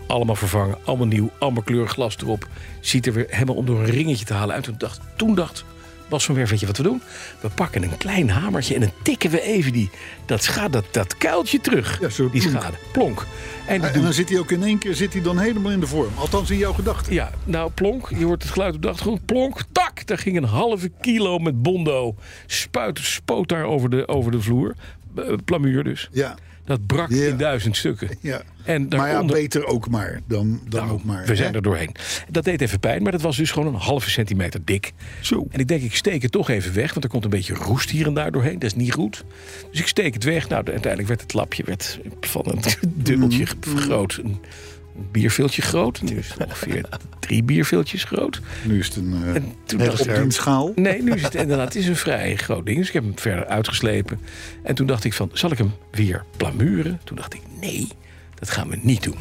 [SPEAKER 3] Allemaal vervangen. Allemaal nieuw. Allemaal kleurig glas erop. Ziet er weer helemaal om door een ringetje te halen uit. Toen dacht, toen dacht Bas van Werf, weet je wat we doen? We pakken een klein hamertje en dan tikken we even die, dat, scha- dat, dat kuiltje terug.
[SPEAKER 2] Ja, zo
[SPEAKER 3] die
[SPEAKER 2] plonk.
[SPEAKER 3] schade. Plonk. En, dat
[SPEAKER 2] En dan zit hij ook in één keer zit hij dan helemaal in de vorm. Althans in jouw gedachten.
[SPEAKER 3] Ja, nou plonk, je hoort het geluid op de achtergrond. Plonk, tak, daar ging een halve kilo met bondo. Spuit, spoot daar over de, over de vloer. Eh, Plamuur dus.
[SPEAKER 2] Ja.
[SPEAKER 3] Dat brak
[SPEAKER 2] Ja.
[SPEAKER 3] in duizend stukken.
[SPEAKER 2] Ja.
[SPEAKER 3] En
[SPEAKER 2] Maar ja,
[SPEAKER 3] daaronder- Nou,
[SPEAKER 2] beter ook maar dan, dan ook maar.
[SPEAKER 3] we zijn
[SPEAKER 2] hè?
[SPEAKER 3] er doorheen. Dat deed even pijn, maar dat was dus gewoon een halve centimeter dik. Zo. En ik denk, ik steek het toch even weg, want er komt een beetje roest hier en daar doorheen. Dat is niet goed. Dus ik steek het weg. Nou, de- uiteindelijk werd het lapje werd van een dubbeltje
[SPEAKER 2] Mm-hmm.
[SPEAKER 3] groot. Een bierveeltje groot. Nu is het ongeveer drie bierveeltjes groot.
[SPEAKER 2] Nu is het een, eh,
[SPEAKER 3] En toen
[SPEAKER 2] Heel
[SPEAKER 3] dacht ik,
[SPEAKER 2] op die schaal.
[SPEAKER 3] Nee, nu is het inderdaad het is een vrij groot ding. Dus ik heb hem verder uitgeslepen. En toen dacht ik van, zal ik hem weer plamuren? Toen dacht ik, nee, dat gaan we niet doen.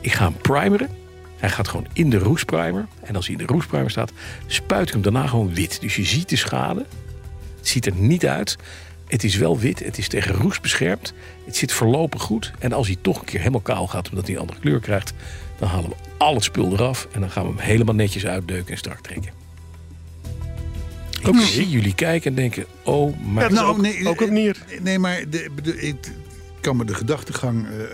[SPEAKER 3] Ik ga hem primeren. Hij gaat gewoon in de roestprimer. En als hij in de roestprimer staat, spuit ik hem daarna gewoon wit. Dus je ziet de schade. Het ziet er niet uit. Het is wel wit, het is tegen roest beschermd. Het zit voorlopig goed. En als hij toch een keer helemaal kaal gaat, omdat hij een andere kleur krijgt... dan halen we al het spul eraf en dan gaan we hem helemaal netjes uitdeuken en strak trekken. Ik zie jullie kijken en denken, oh my god.
[SPEAKER 2] nou, nee,
[SPEAKER 4] ook een manier.
[SPEAKER 2] Nee, maar de, de- ik ik kan me de gedachtegang eh, eh,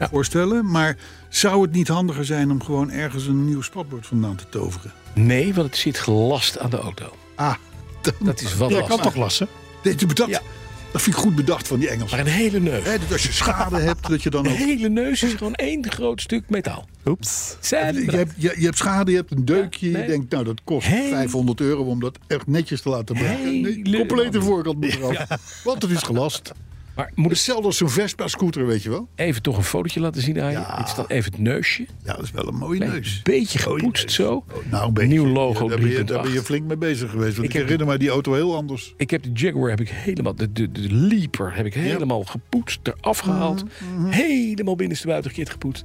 [SPEAKER 2] eh, voorstellen. Maar zou het niet handiger zijn om gewoon ergens een nieuw spatbord vandaan te toveren?
[SPEAKER 3] Nee, want het zit gelast aan de auto.
[SPEAKER 2] Ah, dat,
[SPEAKER 3] Dat is wat
[SPEAKER 4] jij
[SPEAKER 3] lastig.
[SPEAKER 4] kan toch lassen?
[SPEAKER 2] dat, dat,
[SPEAKER 3] Ja.
[SPEAKER 2] vind ik goed bedacht van die Engelsen.
[SPEAKER 3] Maar een hele neus.
[SPEAKER 2] Hè, dat als je schade hebt, dat je dan
[SPEAKER 3] Een
[SPEAKER 2] ook...
[SPEAKER 3] hele neus is gewoon één groot stuk metaal.
[SPEAKER 4] Oeps.
[SPEAKER 3] Zijn
[SPEAKER 2] Je
[SPEAKER 3] bedankt.
[SPEAKER 2] hebt, je, je hebt schade, je hebt een deukje.
[SPEAKER 3] nee.
[SPEAKER 2] Je denkt, nou, dat kost
[SPEAKER 3] Hele-
[SPEAKER 2] 500 euro om dat echt netjes te laten maken. Nee,
[SPEAKER 3] Hele-
[SPEAKER 2] complete voorkant moet eraf. Want het is gelast.
[SPEAKER 3] Maar moet ik
[SPEAKER 2] Hetzelfde Dus als zo'n Vespa-scooter, weet je wel.
[SPEAKER 3] even toch een fotootje laten zien aan je? Dit is dan even het neusje.
[SPEAKER 2] Ja, dat is wel een mooie
[SPEAKER 3] Een
[SPEAKER 2] neus.
[SPEAKER 3] beetje gepoetst zo.
[SPEAKER 2] Oh, Nou, een beetje.
[SPEAKER 3] Nieuw logo
[SPEAKER 2] Ja, daar, ben je,
[SPEAKER 3] 3.8.
[SPEAKER 2] daar ben je flink mee bezig geweest. Want
[SPEAKER 3] Ik
[SPEAKER 2] ik,
[SPEAKER 3] heb-
[SPEAKER 2] herinner me die auto heel anders.
[SPEAKER 3] Ik heb de Jaguar heb ik helemaal, de, de, de Leaper heb ik helemaal gepoetst, eraf
[SPEAKER 2] Mhm,
[SPEAKER 3] gehaald. Helemaal binnenstebuiten gekeerd gepoetst.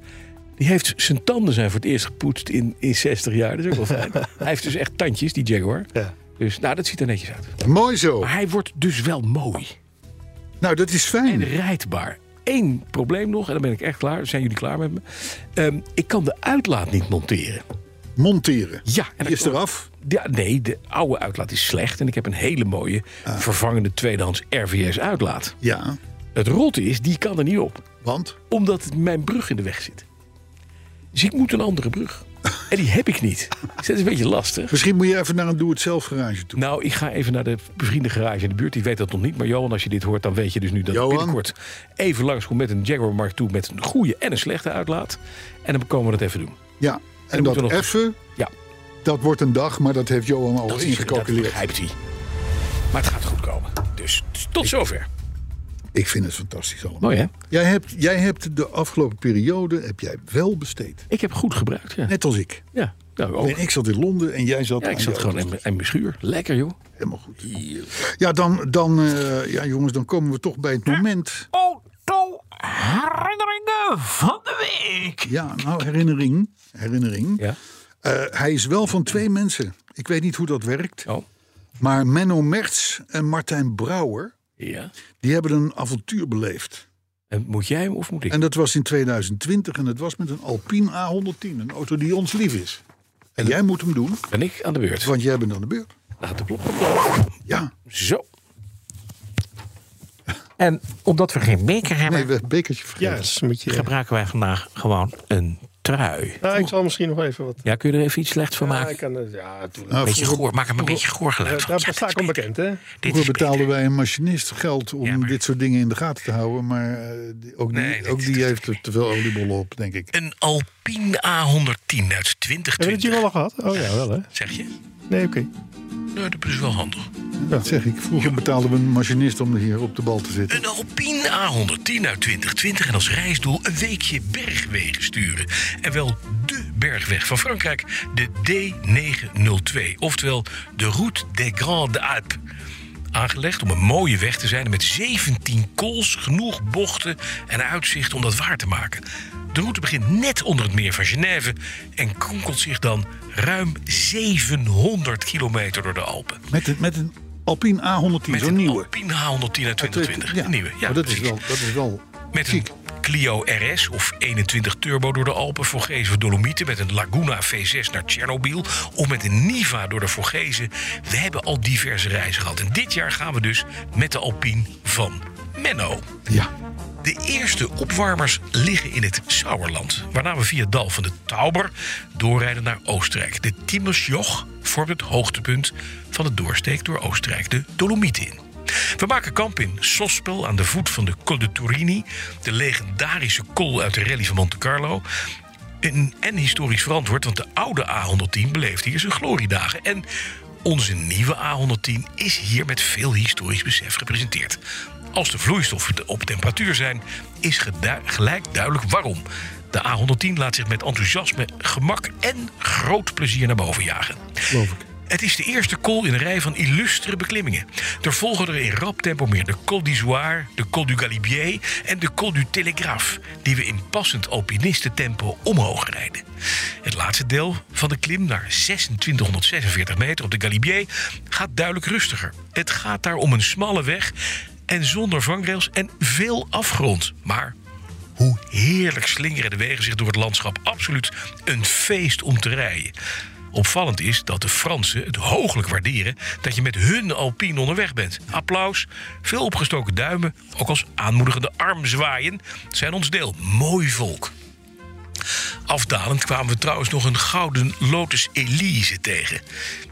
[SPEAKER 3] Die heeft zijn tanden zijn voor het eerst gepoetst in, in 60 jaar. Dat is ook wel fijn. hij heeft dus echt tandjes, die Jaguar.
[SPEAKER 4] Ja.
[SPEAKER 3] Dus nou, dat ziet er netjes uit.
[SPEAKER 2] Mooi zo.
[SPEAKER 3] Maar hij wordt dus wel mooi
[SPEAKER 2] Nou, dat is
[SPEAKER 3] en
[SPEAKER 2] fijn.
[SPEAKER 3] rijdbaar. Eén probleem nog, en dan ben ik echt klaar. Zijn jullie klaar met me? Ehm, ik kan de uitlaat niet monteren.
[SPEAKER 2] Monteren.
[SPEAKER 3] Ja, en
[SPEAKER 2] Die
[SPEAKER 3] dat
[SPEAKER 2] is
[SPEAKER 3] klopt.
[SPEAKER 2] eraf.
[SPEAKER 3] Ja, nee, de oude uitlaat is slecht. En ik heb een hele mooie vervangende tweedehands RVS-uitlaat.
[SPEAKER 2] Ja,
[SPEAKER 3] Het rotte is, die kan er niet op.
[SPEAKER 2] want...
[SPEAKER 3] Omdat het mijn brug in de weg zit. Dus ik moet een andere brug. En die heb ik niet. Dus dat is een beetje lastig.
[SPEAKER 2] Misschien moet je even naar een doe-het-zelf garage toe.
[SPEAKER 3] Nou, ik ga even naar de bevriende garage in de buurt. Die weet dat nog niet. Maar Johan, als je dit hoort, dan weet je dus nu dat ik
[SPEAKER 2] Johan?
[SPEAKER 3] binnenkort even langs komt met een Jaguar Mark II met een goede en een slechte uitlaat. En dan komen we dat even doen.
[SPEAKER 2] Ja, en,
[SPEAKER 3] moeten we
[SPEAKER 2] dat
[SPEAKER 3] nog-
[SPEAKER 2] effen,
[SPEAKER 3] Ja,
[SPEAKER 2] dat wordt een dag, maar dat heeft Johan al
[SPEAKER 3] dat is dat
[SPEAKER 2] ingecalculeerd.
[SPEAKER 3] begrijpt hij. Maar het gaat goed komen. Dus tot zover.
[SPEAKER 2] Ik vind het fantastisch allemaal.
[SPEAKER 3] Mooi hè?
[SPEAKER 2] Jij hebt, jij hebt de afgelopen periode heb jij wel besteed.
[SPEAKER 3] Ik heb goed gebruikt. Ja,
[SPEAKER 2] Net als ik.
[SPEAKER 3] ja nou ook.
[SPEAKER 2] En ik zat in Londen en jij zat,
[SPEAKER 3] Ja, ik
[SPEAKER 2] aan
[SPEAKER 3] zat
[SPEAKER 2] de
[SPEAKER 3] gewoon in
[SPEAKER 2] auto's.
[SPEAKER 3] mijn- in mijn schuur. Lekker joh.
[SPEAKER 2] helemaal goed. Ja, dan, dan eh, ja, jongens, dan komen we toch bij het moment.
[SPEAKER 3] Herinneringen van de week.
[SPEAKER 2] Ja, nou, herinnering. Herinnering.
[SPEAKER 3] Ja.
[SPEAKER 2] Eh, hij is wel van twee mensen. Ik weet niet hoe dat werkt.
[SPEAKER 3] Oh.
[SPEAKER 2] Maar Menno Merts en Martijn Brouwer,
[SPEAKER 3] Ja.
[SPEAKER 2] die hebben een avontuur beleefd.
[SPEAKER 3] En moet jij hem of moet ik?
[SPEAKER 2] En dat was in 2020 en dat was met een Alpine A110. Een auto die ons lief is. En jij moet hem doen,
[SPEAKER 3] Ben ik aan de beurt?
[SPEAKER 2] want jij bent aan de beurt.
[SPEAKER 3] Laat de klok oplopen.
[SPEAKER 2] Ja,
[SPEAKER 3] Zo. En omdat we geen beker hebben,
[SPEAKER 2] nee, we hebben het bekertje vergeten.
[SPEAKER 4] Ja, dat is een beetje...
[SPEAKER 3] gebruiken wij vandaag gewoon een trui.
[SPEAKER 4] Nou, ik zal misschien nog even wat...
[SPEAKER 3] Ja, kun je er even iets slechts van
[SPEAKER 4] Ja,
[SPEAKER 3] maken?
[SPEAKER 4] ik kan, eh, ja tuurlijk.
[SPEAKER 2] Nou,
[SPEAKER 3] beetje
[SPEAKER 2] vroeger-
[SPEAKER 3] goor, maak hem een beetje goorgeluid
[SPEAKER 4] Eh,
[SPEAKER 3] van.
[SPEAKER 4] daar
[SPEAKER 3] Ja,
[SPEAKER 4] sta ik onbekend, hè?
[SPEAKER 3] dit is
[SPEAKER 2] Vroeger betaalden
[SPEAKER 3] beter.
[SPEAKER 2] wij een machinist geld om dit soort dingen in de gaten te houden. Maar eh, die- ook die,
[SPEAKER 3] Nee, dit-
[SPEAKER 2] ook die heeft er te veel oliebollen op, denk ik.
[SPEAKER 3] Een Alpine A110 uit
[SPEAKER 4] Hebben we het
[SPEAKER 3] 2020.
[SPEAKER 4] hier al gehad? Oh ja, wel hè?
[SPEAKER 3] Zeg je?
[SPEAKER 4] Nee, oké.
[SPEAKER 3] Nou, dat is wel handig.
[SPEAKER 2] Dat zeg ik. Vroeger betaalden we een machinist om hier op de bal te zitten.
[SPEAKER 3] Een Alpine A110 uit 2020 en als reisdoel een weekje bergwegen sturen. En wel de bergweg van Frankrijk, de D902. Oftewel de Route des Grandes Alpes. Aangelegd om een mooie weg te zijn met 17 kools, genoeg bochten en uitzicht om dat waar te maken. De route begint net onder het meer van Genève en kronkelt zich dan ruim 700 kilometer door de Alpen.
[SPEAKER 2] Met een, met een Alpine A110,
[SPEAKER 3] Met
[SPEAKER 2] zo'n
[SPEAKER 3] een
[SPEAKER 2] nieuwe.
[SPEAKER 3] Alpine H110 uit 2020.
[SPEAKER 2] Ja,
[SPEAKER 3] Een nieuwe. Ja,
[SPEAKER 2] maar dat is
[SPEAKER 3] precies.
[SPEAKER 2] wel, dat is wel
[SPEAKER 3] Met een
[SPEAKER 2] chic.
[SPEAKER 3] Clio RS of 21 Turbo door de Alpen, Vorgezen of Dolomieten... met een Laguna V6 naar Tsjernobyl of met een Niva door de Vorgezen. We hebben al diverse reizen gehad. En dit jaar gaan we dus met de Alpine van Menno.
[SPEAKER 2] Ja.
[SPEAKER 3] De eerste opwarmers liggen in het Sauerland, waarna we via het dal van de Tauber doorrijden naar Oostenrijk. De Timmersjoch vormt het hoogtepunt van de doorsteek door Oostenrijk de Dolomieten in. We maken kamp in Sospel aan de voet van de Col de Turini, de legendarische col uit de rally van Monte Carlo. En, en historisch verantwoord, want de oude A110 beleefde hier zijn gloriedagen. En onze nieuwe A110 is hier met veel historisch besef gepresenteerd. Als de vloeistoffen op temperatuur zijn, is gedu- gelijk duidelijk waarom. De A110 laat zich met enthousiasme, gemak en groot plezier naar boven jagen. Geloof ik. Het is de eerste col in een rij van illustere beklimmingen. Er volgen er in rap tempo meer de Col d'Izoire, de Col du Galibier en de Col du Télégraphe, die we in passend alpinistentempo omhoog rijden. Het laatste deel van de klim naar 2646 meter op de Galibier gaat duidelijk rustiger. Het gaat daar om een smalle weg en zonder vangrails en veel afgrond. Maar hoe heerlijk slingeren de wegen zich door het landschap. Absoluut een feest om te rijden. Opvallend is dat de Fransen het hooglijk waarderen dat je met hun Alpine onderweg bent. Applaus, veel opgestoken duimen, ook als aanmoedigende armzwaaien zijn ons deel. Mooi volk. Afdalend kwamen we trouwens nog een gouden Lotus Elise tegen.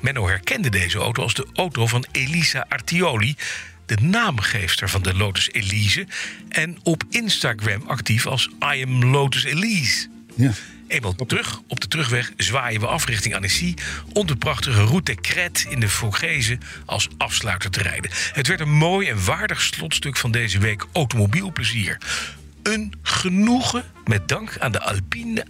[SPEAKER 3] Menno herkende deze auto als de auto van Elisa Artioli, de naamgeefster van de Lotus Elise, en op Instagram actief als I am Lotus Elise.
[SPEAKER 2] ja.
[SPEAKER 3] Eenmaal terug, op de terugweg zwaaien we af richting Annecy... om de prachtige Route des Crêtes in de Vogesen als afsluiter te rijden. Het werd een mooi en waardig slotstuk van deze week automobielplezier. Een genoegen met dank aan de Alpine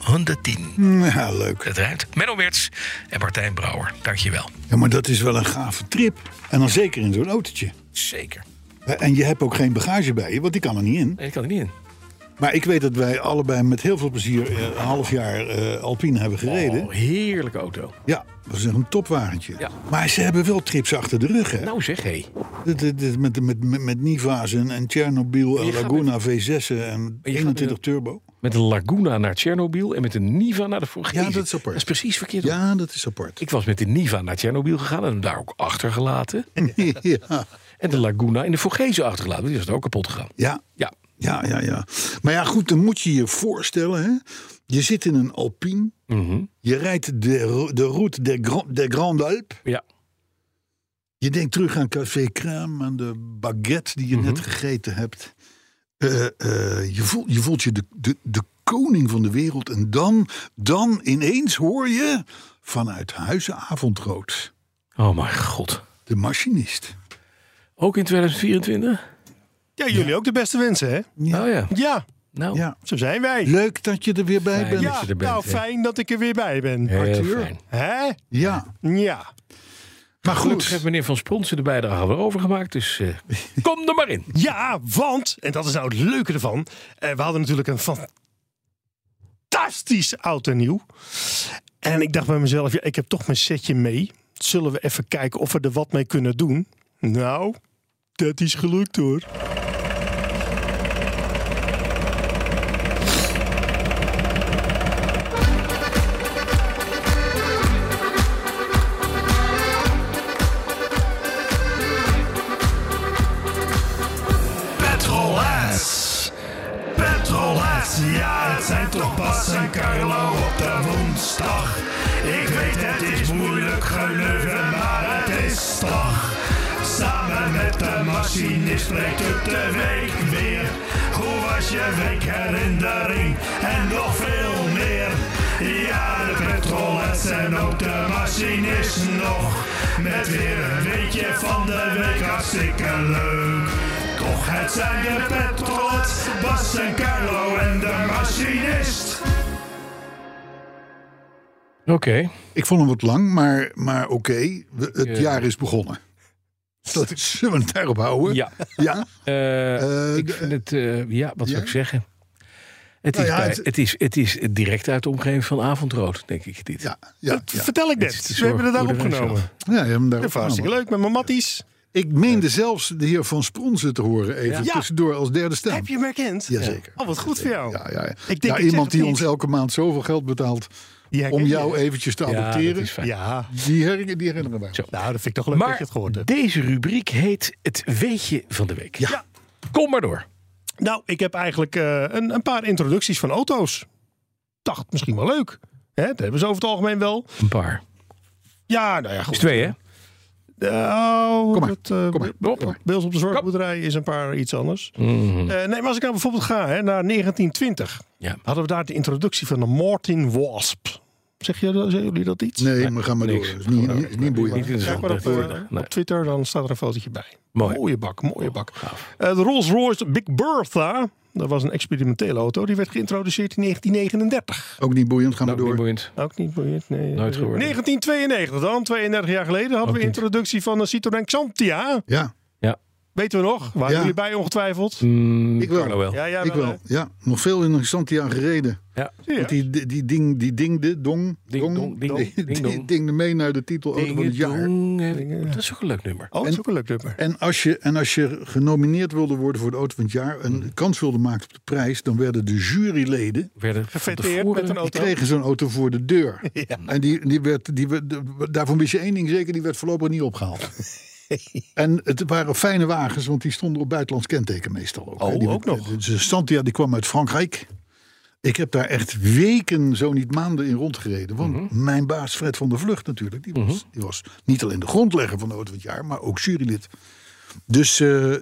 [SPEAKER 3] A110.
[SPEAKER 2] ja, leuk.
[SPEAKER 3] Dat ruimt Menno Merts en Martijn Brouwer. Dankjewel.
[SPEAKER 2] Ja, maar dat is wel een gave trip. En dan zeker in zo'n autootje. Eh,
[SPEAKER 3] Zeker.
[SPEAKER 2] En je hebt ook geen bagage bij je, want die kan er niet in.
[SPEAKER 3] Nee, ik kan er niet in.
[SPEAKER 2] Maar ik weet dat wij allebei met heel veel plezier eh, een half jaar eh, Alpine hebben gereden.
[SPEAKER 3] Oh, heerlijke auto.
[SPEAKER 2] Ja, dat is echt een topwagentje.
[SPEAKER 3] Ja.
[SPEAKER 2] Maar ze hebben wel trips achter de rug, hè?
[SPEAKER 3] Nou zeg, hé.
[SPEAKER 2] Dit- dit- dit Met, met, met, met Niva's en, en Chernobyl en
[SPEAKER 3] je gaat
[SPEAKER 2] Laguna V6 en
[SPEAKER 3] met-
[SPEAKER 2] 21 Turbo.
[SPEAKER 3] Met een Laguna naar Tsjernobyl en met een Niva naar de Vogesen.
[SPEAKER 2] Ja, dat is apart. Dat is
[SPEAKER 3] precies verkeerd.
[SPEAKER 2] Ja, dat is apart.
[SPEAKER 3] Ik was met de Niva naar Tsjernobyl gegaan en hem daar ook achtergelaten.
[SPEAKER 2] ja.
[SPEAKER 3] En de Laguna in de Vorgezen achtergelaten. Die was er ook kapot gegaan.
[SPEAKER 2] Ja,
[SPEAKER 3] Ja,
[SPEAKER 2] Ja, ja, ja. Maar ja, goed, dan moet je je voorstellen hè, Je zit in een Alpine.
[SPEAKER 3] Mhm.
[SPEAKER 2] Je rijdt de, ro- de route der Grand, der Grande Alpes.
[SPEAKER 3] Ja.
[SPEAKER 2] Je denkt terug aan café crème, aan de baguette die je net gegeten hebt. Eh, eh, je, voelt, je voelt je de, de, de koning van de wereld. En dan, dan ineens hoor je vanuit huizen avondrood.
[SPEAKER 3] Oh mijn god.
[SPEAKER 2] De machinist.
[SPEAKER 3] Ook in 2024?
[SPEAKER 4] Ja, jullie ook de beste wensen, hè?
[SPEAKER 3] Oh ja.
[SPEAKER 4] Ja,
[SPEAKER 3] Nou,
[SPEAKER 2] Ja.
[SPEAKER 4] zo zijn wij.
[SPEAKER 2] Leuk dat je er weer bij
[SPEAKER 3] Fijn.
[SPEAKER 2] bent.
[SPEAKER 3] dat
[SPEAKER 4] ja,
[SPEAKER 3] je er bent,
[SPEAKER 4] nou
[SPEAKER 3] hè?
[SPEAKER 4] fijn dat ik er weer bij ben.
[SPEAKER 3] heel
[SPEAKER 2] Arthur.
[SPEAKER 3] fijn.
[SPEAKER 4] Hè?
[SPEAKER 2] Ja,
[SPEAKER 4] Ja.
[SPEAKER 2] maar
[SPEAKER 3] Goed, heeft
[SPEAKER 2] goed.
[SPEAKER 3] meneer Van Spronsen de bijdrage hadden we overgemaakt, dus eh, kom er maar in.
[SPEAKER 4] Ja, want, en dat is nou het leuke ervan, eh, we hadden natuurlijk een fantastisch oud en nieuw. En ik dacht bij mezelf, ja, ik heb toch mijn setje mee. Zullen we even kijken of we er wat mee kunnen doen? Nou, dat is gelukt hoor.
[SPEAKER 6] Petrolheads. Petrolheads, ja, het zijn toch Bas en Carlo op de woensdag. Ik weet het is moeilijk geleuven, maar het is toch. Samen met de machinist breekt het de week weer. Hoe was je weekherinnering en nog veel meer? Ja, de petrolheads en ook de machinist nog. Met weer een weekje van de week, hartstikke leuk. Toch het zijn de Petrolheads, Bas en Carlo en de machinist.
[SPEAKER 3] Oké.
[SPEAKER 2] Ik vond hem wat lang, maar, maar oké. we- Het
[SPEAKER 3] Ja.
[SPEAKER 2] jaar is begonnen. Dat is, zullen we het daarop houden?
[SPEAKER 3] Ja.
[SPEAKER 2] Ja?
[SPEAKER 3] Eh,
[SPEAKER 2] Eh,
[SPEAKER 3] ik
[SPEAKER 2] de-
[SPEAKER 3] vind het, eh, ja, wat zou
[SPEAKER 2] Ja?
[SPEAKER 3] ik zeggen? Het,
[SPEAKER 2] Nou
[SPEAKER 3] is
[SPEAKER 2] ja,
[SPEAKER 3] bij-
[SPEAKER 2] het-
[SPEAKER 3] het... is, het is direct uit de omgeving van Avondrood, denk ik dit.
[SPEAKER 2] Ja, ja,
[SPEAKER 4] Dat
[SPEAKER 2] ja.
[SPEAKER 4] vertel ik
[SPEAKER 3] Dit is
[SPEAKER 4] net.
[SPEAKER 3] de
[SPEAKER 4] We hebben het daar
[SPEAKER 3] zorg voor de
[SPEAKER 4] opgenomen.
[SPEAKER 2] Ja,
[SPEAKER 3] rechtszaak.
[SPEAKER 2] je hebt hem daar
[SPEAKER 4] Dat was
[SPEAKER 2] opgenomen.
[SPEAKER 4] hartstikke leuk met mijn matties.
[SPEAKER 2] Ik meende zelfs de heer Van Spronsen te horen even
[SPEAKER 4] Ja.
[SPEAKER 2] tussendoor als derde stem.
[SPEAKER 4] Heb je hem herkend?
[SPEAKER 2] Jazeker.
[SPEAKER 4] Oh, wat goed voor jou.
[SPEAKER 2] Ja, ja, ja.
[SPEAKER 4] denk,
[SPEAKER 2] Nou,
[SPEAKER 4] ik zeg
[SPEAKER 2] iemand
[SPEAKER 4] het
[SPEAKER 2] die
[SPEAKER 4] niet.
[SPEAKER 2] ons elke maand zoveel geld betaalt
[SPEAKER 4] Die herken
[SPEAKER 2] om
[SPEAKER 4] je.
[SPEAKER 2] jou eventjes te
[SPEAKER 3] Ja, dat
[SPEAKER 2] adopteren.
[SPEAKER 3] is fijn.
[SPEAKER 4] Ja,
[SPEAKER 2] die, her, die herinneren wij.
[SPEAKER 3] Zo.
[SPEAKER 4] nou, dat vind ik toch leuk dat je het gehoord
[SPEAKER 3] Maar
[SPEAKER 4] hebt.
[SPEAKER 3] deze rubriek heet het weetje van de week.
[SPEAKER 4] Ja.
[SPEAKER 3] Kom maar door.
[SPEAKER 4] Nou, ik heb eigenlijk eh, een, een paar introducties van auto's. Dacht misschien wel leuk. Hè, dat hebben ze over het algemeen wel.
[SPEAKER 3] Een paar.
[SPEAKER 4] Ja, nou ja,
[SPEAKER 3] Dus
[SPEAKER 4] goed.
[SPEAKER 3] twee, hè?
[SPEAKER 4] Oh,
[SPEAKER 2] Kom maar,
[SPEAKER 4] dat, eh,
[SPEAKER 2] kom maar. Hm.
[SPEAKER 3] Rob?
[SPEAKER 4] Bij ons op de zorgboerderij is een paar iets anders.
[SPEAKER 3] Mhm.
[SPEAKER 4] Eh, nee, maar als ik nou bijvoorbeeld ga hè, naar 1920,
[SPEAKER 3] Ja.
[SPEAKER 4] hadden we daar de introductie van de Martin Wasp. Zeg je, dat- zeggen jullie dat iets?
[SPEAKER 2] Nee, maar ga maar door.
[SPEAKER 3] niks.
[SPEAKER 2] Dat is niet, niet, niet boeiend.
[SPEAKER 3] Niet
[SPEAKER 4] Kijk
[SPEAKER 3] interessant.
[SPEAKER 4] maar op,
[SPEAKER 3] hè?
[SPEAKER 4] eh,
[SPEAKER 3] Nee.
[SPEAKER 4] op Twitter, dan staat er een fotootje bij.
[SPEAKER 3] Mooi.
[SPEAKER 4] Mooie bak, mooie
[SPEAKER 2] Oh,
[SPEAKER 4] bak. Eh, de Rolls Royce Big Bertha, dat was een experimentele auto, die werd geïntroduceerd in 1939.
[SPEAKER 2] Ook niet boeiend, ga maar
[SPEAKER 3] Ook niet
[SPEAKER 2] door.
[SPEAKER 3] boeiend.
[SPEAKER 4] Ook niet boeiend, nee.
[SPEAKER 3] Nooit gehoord.
[SPEAKER 4] 1992 dan, 32 jaar geleden, hadden we
[SPEAKER 3] niet.
[SPEAKER 4] introductie van de Citroën Xantia.
[SPEAKER 2] Ja,
[SPEAKER 4] Weten we nog? Waren
[SPEAKER 2] Ja.
[SPEAKER 4] jullie bij ongetwijfeld?
[SPEAKER 3] Mm,
[SPEAKER 2] Ik wel.
[SPEAKER 3] Carlo wel.
[SPEAKER 4] ja,
[SPEAKER 2] ik wel.
[SPEAKER 4] hè?
[SPEAKER 2] Ja, nog veel in Santiago gereden.
[SPEAKER 4] Zie je?
[SPEAKER 2] Want die, die, die ding, die ding, de dong,
[SPEAKER 3] Ding dong, ding dong,
[SPEAKER 2] die-
[SPEAKER 3] ding
[SPEAKER 2] die
[SPEAKER 3] dong.
[SPEAKER 2] ding mee naar de titel auto van het jaar.
[SPEAKER 3] Ding-dong, eh, Dat is ook een leuk nummer.
[SPEAKER 4] Oh, dat is ook een leuk nummer.
[SPEAKER 2] En als, je, en als je genomineerd wilde worden voor de auto van het jaar, een kans wilde maken op de prijs, dan werden de juryleden
[SPEAKER 3] Werden van
[SPEAKER 4] Gefeteerd
[SPEAKER 3] tevoren-
[SPEAKER 4] met een auto.
[SPEAKER 2] Die kregen zo'n auto voor de deur. En die, die werd, die, werd- daarvan wist je één ding zeker, die werd voorlopig niet opgehaald. en het waren fijne wagens, want die stonden op buitenlands kenteken meestal ook. hè. die
[SPEAKER 4] Oh, ook nog.
[SPEAKER 2] De, de Santia die kwam uit Frankrijk. Ik heb daar echt weken, zo niet maanden in rondgereden. Want
[SPEAKER 4] Mhm.
[SPEAKER 2] mijn baas Fred van der Vlucht natuurlijk, die was, die was niet alleen de grondlegger van de auto van het jaar, maar ook jurylid. Dus eh,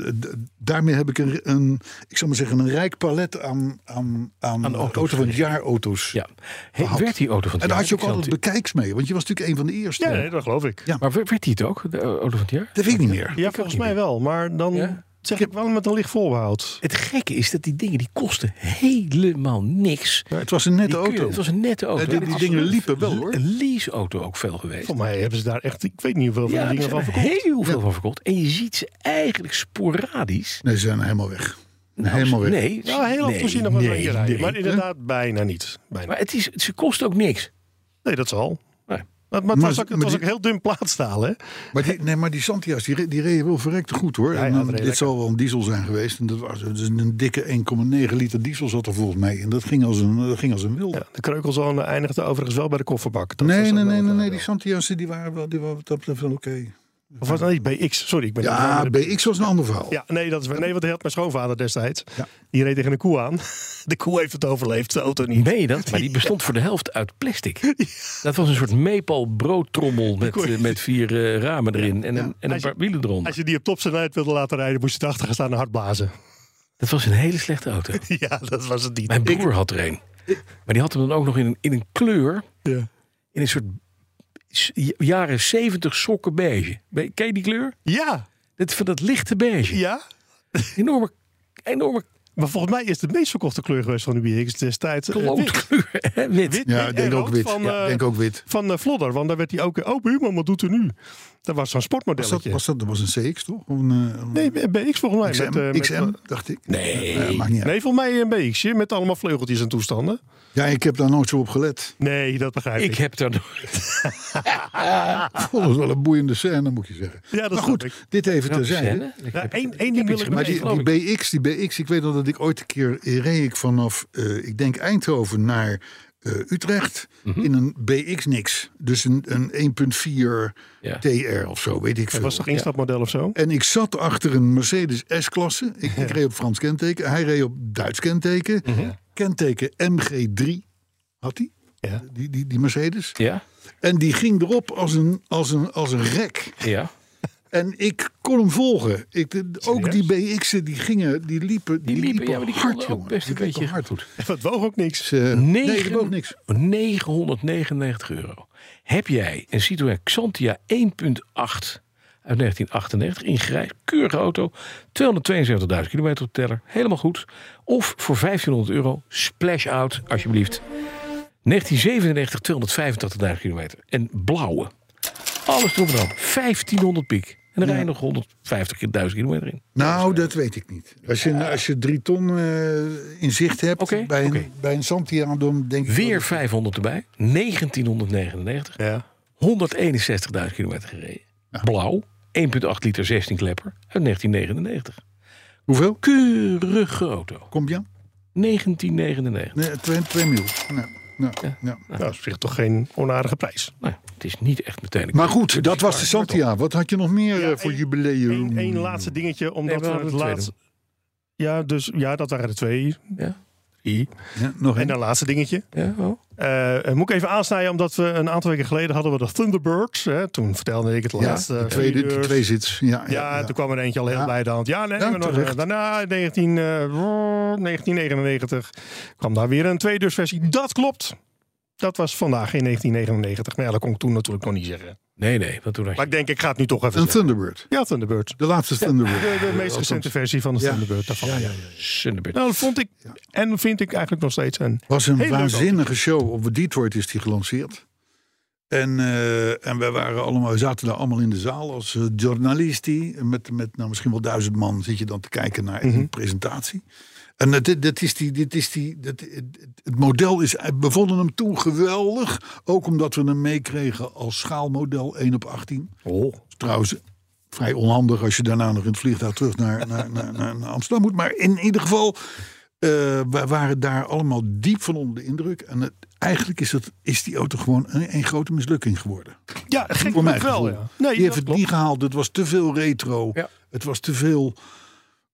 [SPEAKER 2] eh, d- daarmee heb ik een, een, ik zal maar zeggen, een rijk palet aan, aan, aan, eh, auto van het jaar auto's.
[SPEAKER 3] Ja. Hey,
[SPEAKER 2] Gehad.
[SPEAKER 3] werd die auto van het
[SPEAKER 2] En daar
[SPEAKER 3] jaar?
[SPEAKER 2] had je ook
[SPEAKER 3] Ik zal
[SPEAKER 2] altijd
[SPEAKER 3] het-
[SPEAKER 2] bekijks mee, want je was natuurlijk een van de eerste.
[SPEAKER 4] Ja, nee, dat geloof ik.
[SPEAKER 2] Ja.
[SPEAKER 3] Maar werd werd die het ook, de eh, auto van het jaar?
[SPEAKER 2] Dat weet ik niet meer.
[SPEAKER 4] Ja, volgens mij wel. Maar dan
[SPEAKER 3] Ja?
[SPEAKER 4] zeg ik wel met een licht voorbehoud.
[SPEAKER 3] Het gekke is dat die dingen die kosten helemaal niks.
[SPEAKER 2] Ja, het was een nette
[SPEAKER 3] Die kun je-
[SPEAKER 2] auto.
[SPEAKER 3] Het was een nette auto.
[SPEAKER 2] Ja, die-
[SPEAKER 3] En het
[SPEAKER 2] die
[SPEAKER 3] is
[SPEAKER 2] dingen
[SPEAKER 3] een-
[SPEAKER 2] liepen wel, hoor.
[SPEAKER 3] Een leaseauto ook veel geweest.
[SPEAKER 4] Volgens mij hebben ze daar echt, ik weet niet hoeveel van
[SPEAKER 3] ja,
[SPEAKER 4] die
[SPEAKER 3] er
[SPEAKER 4] dingen
[SPEAKER 3] zijn
[SPEAKER 4] van
[SPEAKER 3] er
[SPEAKER 4] verkocht.
[SPEAKER 3] heel veel van verkocht. En je ziet ze eigenlijk sporadisch.
[SPEAKER 2] Nee, ze zijn helemaal weg.
[SPEAKER 3] Nou,
[SPEAKER 2] helemaal weg.
[SPEAKER 3] Nee,
[SPEAKER 4] Ja, heel
[SPEAKER 3] nee,
[SPEAKER 4] af voorzien nog wel
[SPEAKER 3] nee,
[SPEAKER 4] een rijden.
[SPEAKER 3] nee.
[SPEAKER 4] Maar inderdaad, bijna niet. Bijna.
[SPEAKER 3] Maar het is, ze kosten ook niks.
[SPEAKER 4] Nee, dat zal.
[SPEAKER 3] Nee.
[SPEAKER 4] Maar, maar het was
[SPEAKER 2] Maar-
[SPEAKER 4] ook, het
[SPEAKER 2] maar
[SPEAKER 4] was
[SPEAKER 2] die-
[SPEAKER 4] ook heel dun plaatstaal, hè?
[SPEAKER 2] Maar die, nee, maar die Santia's, die, re- die reden wel verrekte goed hoor.
[SPEAKER 4] ja,
[SPEAKER 2] en,
[SPEAKER 4] dat
[SPEAKER 2] dan-
[SPEAKER 4] reed
[SPEAKER 2] dit
[SPEAKER 4] lekker.
[SPEAKER 2] zal wel een diesel zijn geweest. En dat was dus een dikke 1,9 liter diesel zat er volgens mij. En dat ging als een, dat ging als een wilde.
[SPEAKER 4] Ja, de kreukelzone eindigde overigens wel bij de kofferbak. Dat was
[SPEAKER 2] nee,
[SPEAKER 4] dan
[SPEAKER 2] nee,
[SPEAKER 4] wel
[SPEAKER 2] nee,
[SPEAKER 4] eh, het
[SPEAKER 2] nee, nee,
[SPEAKER 4] nadeel.
[SPEAKER 2] die Santia's die waren wel die waren wat dat betreft wel oké.
[SPEAKER 4] Of was het nee, BX? Sorry, ik ben
[SPEAKER 2] Ja,
[SPEAKER 4] de-
[SPEAKER 2] BX was een ander verhaal.
[SPEAKER 4] Ja, nee, dat is, nee, want hij had mijn schoonvader destijds.
[SPEAKER 2] Ja.
[SPEAKER 4] Die reed tegen een koe aan. De koe heeft het overleefd, de auto niet.
[SPEAKER 3] Nee, dat, maar die bestond voor de helft uit plastic. Dat was een soort meepal broodtrommel met,
[SPEAKER 4] kon je-
[SPEAKER 3] eh, met vier eh, ramen erin en een, en een
[SPEAKER 4] Als je-
[SPEAKER 3] paar wielen eronder.
[SPEAKER 4] Als je die op topsnelheid wilde laten rijden, moest je erachter gaan staan en hard blazen.
[SPEAKER 3] Dat was een hele slechte auto.
[SPEAKER 4] Ja, dat was het niet.
[SPEAKER 3] Mijn broer had er een. Maar die had hem dan ook nog in een, in een kleur,
[SPEAKER 4] Ja.
[SPEAKER 3] in een soort s- j- jaren zeventig sokken beige. Be- Ken je die kleur?
[SPEAKER 4] ja,
[SPEAKER 3] Dat, van dat lichte beige.
[SPEAKER 4] ja.
[SPEAKER 3] Enorme, enorme
[SPEAKER 4] Maar volgens mij is de meest verkochte kleur geweest van de BX destijds. eh, wit.
[SPEAKER 3] klootkleur. hè, Wit.
[SPEAKER 4] Wit,
[SPEAKER 2] Ja,
[SPEAKER 4] wit
[SPEAKER 2] ik denk
[SPEAKER 4] en
[SPEAKER 2] ook
[SPEAKER 4] rood
[SPEAKER 2] wit.
[SPEAKER 4] Van,
[SPEAKER 2] Ja,
[SPEAKER 4] eh,
[SPEAKER 2] ik denk ook wit.
[SPEAKER 4] van eh, Vlodder, want daar werd hij ook... Oh, buurman, wat doet u nu? Dat was zo'n
[SPEAKER 2] Was dat,
[SPEAKER 4] sportmodelletje.
[SPEAKER 2] was dat, dat was een CX toch? Of een, eh, een
[SPEAKER 4] Nee, BX volgens mij.
[SPEAKER 2] XM,
[SPEAKER 4] met, eh, met-
[SPEAKER 2] XM, dacht ik. Nee. maakt niet uit.
[SPEAKER 4] Nee, volgens mij een BX, met allemaal vleugeltjes en toestanden.
[SPEAKER 2] Ja, ik heb daar nooit zo op gelet.
[SPEAKER 4] Nee, dat begrijp ik.
[SPEAKER 3] Ik heb daar nog...
[SPEAKER 2] Ik vond het wel een boeiende scène, moet je zeggen.
[SPEAKER 4] Ja, dat
[SPEAKER 2] maar goed,
[SPEAKER 4] snap ik.
[SPEAKER 2] dit even terzijde.
[SPEAKER 3] Scène? Ik
[SPEAKER 4] Ja,
[SPEAKER 3] heb-
[SPEAKER 4] één-
[SPEAKER 3] ik heb
[SPEAKER 4] één ding wil
[SPEAKER 3] iets
[SPEAKER 4] ik
[SPEAKER 2] Maar
[SPEAKER 4] nog
[SPEAKER 3] gemist,
[SPEAKER 2] die,
[SPEAKER 3] geloof
[SPEAKER 2] die
[SPEAKER 3] ik.
[SPEAKER 2] BX, die BX, ik weet nog dat ik ooit een keer eh, reed ik vanaf, eh, ik denk Eindhoven naar eh, Utrecht
[SPEAKER 3] Mhm.
[SPEAKER 2] in een BX niks. Dus een, een 1.4
[SPEAKER 3] Ja.
[SPEAKER 2] TR of zo, weet ik
[SPEAKER 4] Het
[SPEAKER 2] veel.
[SPEAKER 4] was toch instapmodel of zo?
[SPEAKER 2] En ik zat achter een Mercedes S-klasse. Ik, ik reed op Frans kenteken. Hij reed op Duits kenteken.
[SPEAKER 3] Mhm.
[SPEAKER 2] Kenteken MG3 had hij,
[SPEAKER 4] Ja.
[SPEAKER 2] die, die, die Mercedes.
[SPEAKER 3] Ja,
[SPEAKER 2] En die ging erop als een, als een, als een rek.
[SPEAKER 3] ja.
[SPEAKER 2] En ik kon hem volgen. Ik, de- ook die BX'en, die gingen, die liepen, die
[SPEAKER 3] Die liepen,
[SPEAKER 2] liepen,
[SPEAKER 3] ja, maar die
[SPEAKER 2] hard,
[SPEAKER 3] konden ook
[SPEAKER 2] jongen.
[SPEAKER 3] best een
[SPEAKER 2] Die liepen
[SPEAKER 3] beetje
[SPEAKER 2] hard.
[SPEAKER 3] goed.
[SPEAKER 4] Het woog ook niks.
[SPEAKER 2] Dus, eh, nee,
[SPEAKER 3] Negen-
[SPEAKER 2] dat ook niks.
[SPEAKER 3] 999 euro. Heb jij een Citroën Xantia 1.8 uit 1998 in grijs, keurige auto, 272.000 kilometer op de teller, helemaal goed. Of voor 1500 euro, splash out, alsjeblieft. 1997, 285.000 kilometer. En blauwe. Alles erop en erop. 1500 piek. En dan rij je nog 150.000 kilometer in.
[SPEAKER 2] Nou, dat weet ik niet. Als je, als je drie ton eh, in zicht hebt
[SPEAKER 3] Oké,
[SPEAKER 2] bij, een,
[SPEAKER 3] oké.
[SPEAKER 2] bij een Santiago, dan denk ik...
[SPEAKER 3] Weer 500 erbij. 1999.
[SPEAKER 4] Ja.
[SPEAKER 3] 161.000 kilometer gereden. Blauw, 1,8 liter 16 klepper uit 1999.
[SPEAKER 2] Hoeveel?
[SPEAKER 3] Keurige auto,
[SPEAKER 2] Kom je aan?
[SPEAKER 3] 1999.
[SPEAKER 2] Nee, twee, twee mil. Nou, nou, nou.
[SPEAKER 4] Nou, dat is op zich toch geen onaardige prijs.
[SPEAKER 3] Nou, het is niet echt meteen een
[SPEAKER 2] Maar goed, dat was de Santia. Wat had je nog meer
[SPEAKER 4] Ja,
[SPEAKER 2] eh, voor
[SPEAKER 4] één-
[SPEAKER 2] jubileum?
[SPEAKER 4] Eén één laatste dingetje,
[SPEAKER 3] Nee,
[SPEAKER 4] omdat
[SPEAKER 3] we
[SPEAKER 4] we
[SPEAKER 3] hadden
[SPEAKER 4] het
[SPEAKER 3] twee
[SPEAKER 4] laatste... Ja, dus, ja, dat waren de twee.
[SPEAKER 3] Ja,
[SPEAKER 4] Drie.
[SPEAKER 2] Ja, nog
[SPEAKER 4] En
[SPEAKER 2] één.
[SPEAKER 4] een laatste dingetje.
[SPEAKER 3] ja, oh.
[SPEAKER 4] Eh, eh, moet ik even aansnijden, omdat we een aantal weken geleden hadden we de Thunderbirds. Hè? Toen vertelde ik het
[SPEAKER 2] Ja,
[SPEAKER 4] laatste.
[SPEAKER 2] de tweede, de
[SPEAKER 4] uur.
[SPEAKER 2] twee zits. Ja,
[SPEAKER 4] Ja,
[SPEAKER 2] ja,
[SPEAKER 4] toen kwam er eentje al heel
[SPEAKER 2] Ja.
[SPEAKER 4] blij de hand. Ja, nee,
[SPEAKER 2] Ja,
[SPEAKER 4] maar nog,
[SPEAKER 2] terecht.
[SPEAKER 4] eh, daarna, 19, eh, 1999, kwam daar weer een tweedeursversie. Dat klopt. Dat was vandaag in 1999. Nou ja, dat kon ik toen natuurlijk nog niet zeggen.
[SPEAKER 3] Nee, nee, want toen had
[SPEAKER 4] Maar
[SPEAKER 3] je...
[SPEAKER 4] ik denk, ik ga het nu toch even
[SPEAKER 2] Een
[SPEAKER 4] zeggen.
[SPEAKER 2] Thunderbird.
[SPEAKER 4] Ja, Thunderbird.
[SPEAKER 2] De laatste Thunderbird.
[SPEAKER 4] De, de meest recente versie van de Thunderbird. Daarvan.
[SPEAKER 2] Ja, ja, ja.
[SPEAKER 3] Sunderbird.
[SPEAKER 4] Nou, dat vond ik, en vind ik eigenlijk nog steeds een...
[SPEAKER 2] was een
[SPEAKER 4] Heel leuk
[SPEAKER 2] waanzinnige show. Op Detroit is die gelanceerd. En, eh, en wij waren allemaal, we zaten daar allemaal in de zaal als eh, journalisti. Met, met nou, misschien wel duizend man zit je dan te kijken naar een presentatie. En dat, dit- dat is die, dit is die, dat, het- het model is, eh, we vonden hem toen geweldig. Ook omdat we hem meekregen als schaalmodel 1 op 18.
[SPEAKER 4] Oh.
[SPEAKER 2] Trouwens, eh, vrij onhandig als je daarna nog in het vliegtuig terug naar, naar, naar, naar, naar Amsterdam moet. Maar in ieder geval, eh wij waren daar allemaal diep van onder de indruk. En het- eigenlijk is, dat, is die auto gewoon een, een grote mislukking geworden.
[SPEAKER 4] Ja, gek
[SPEAKER 2] Voor mij
[SPEAKER 4] genoeg wel. Ja. Nee,
[SPEAKER 2] die heeft
[SPEAKER 4] dat
[SPEAKER 2] het
[SPEAKER 4] klopt.
[SPEAKER 2] niet gehaald. Het was te veel retro.
[SPEAKER 3] Ja.
[SPEAKER 2] Het was te veel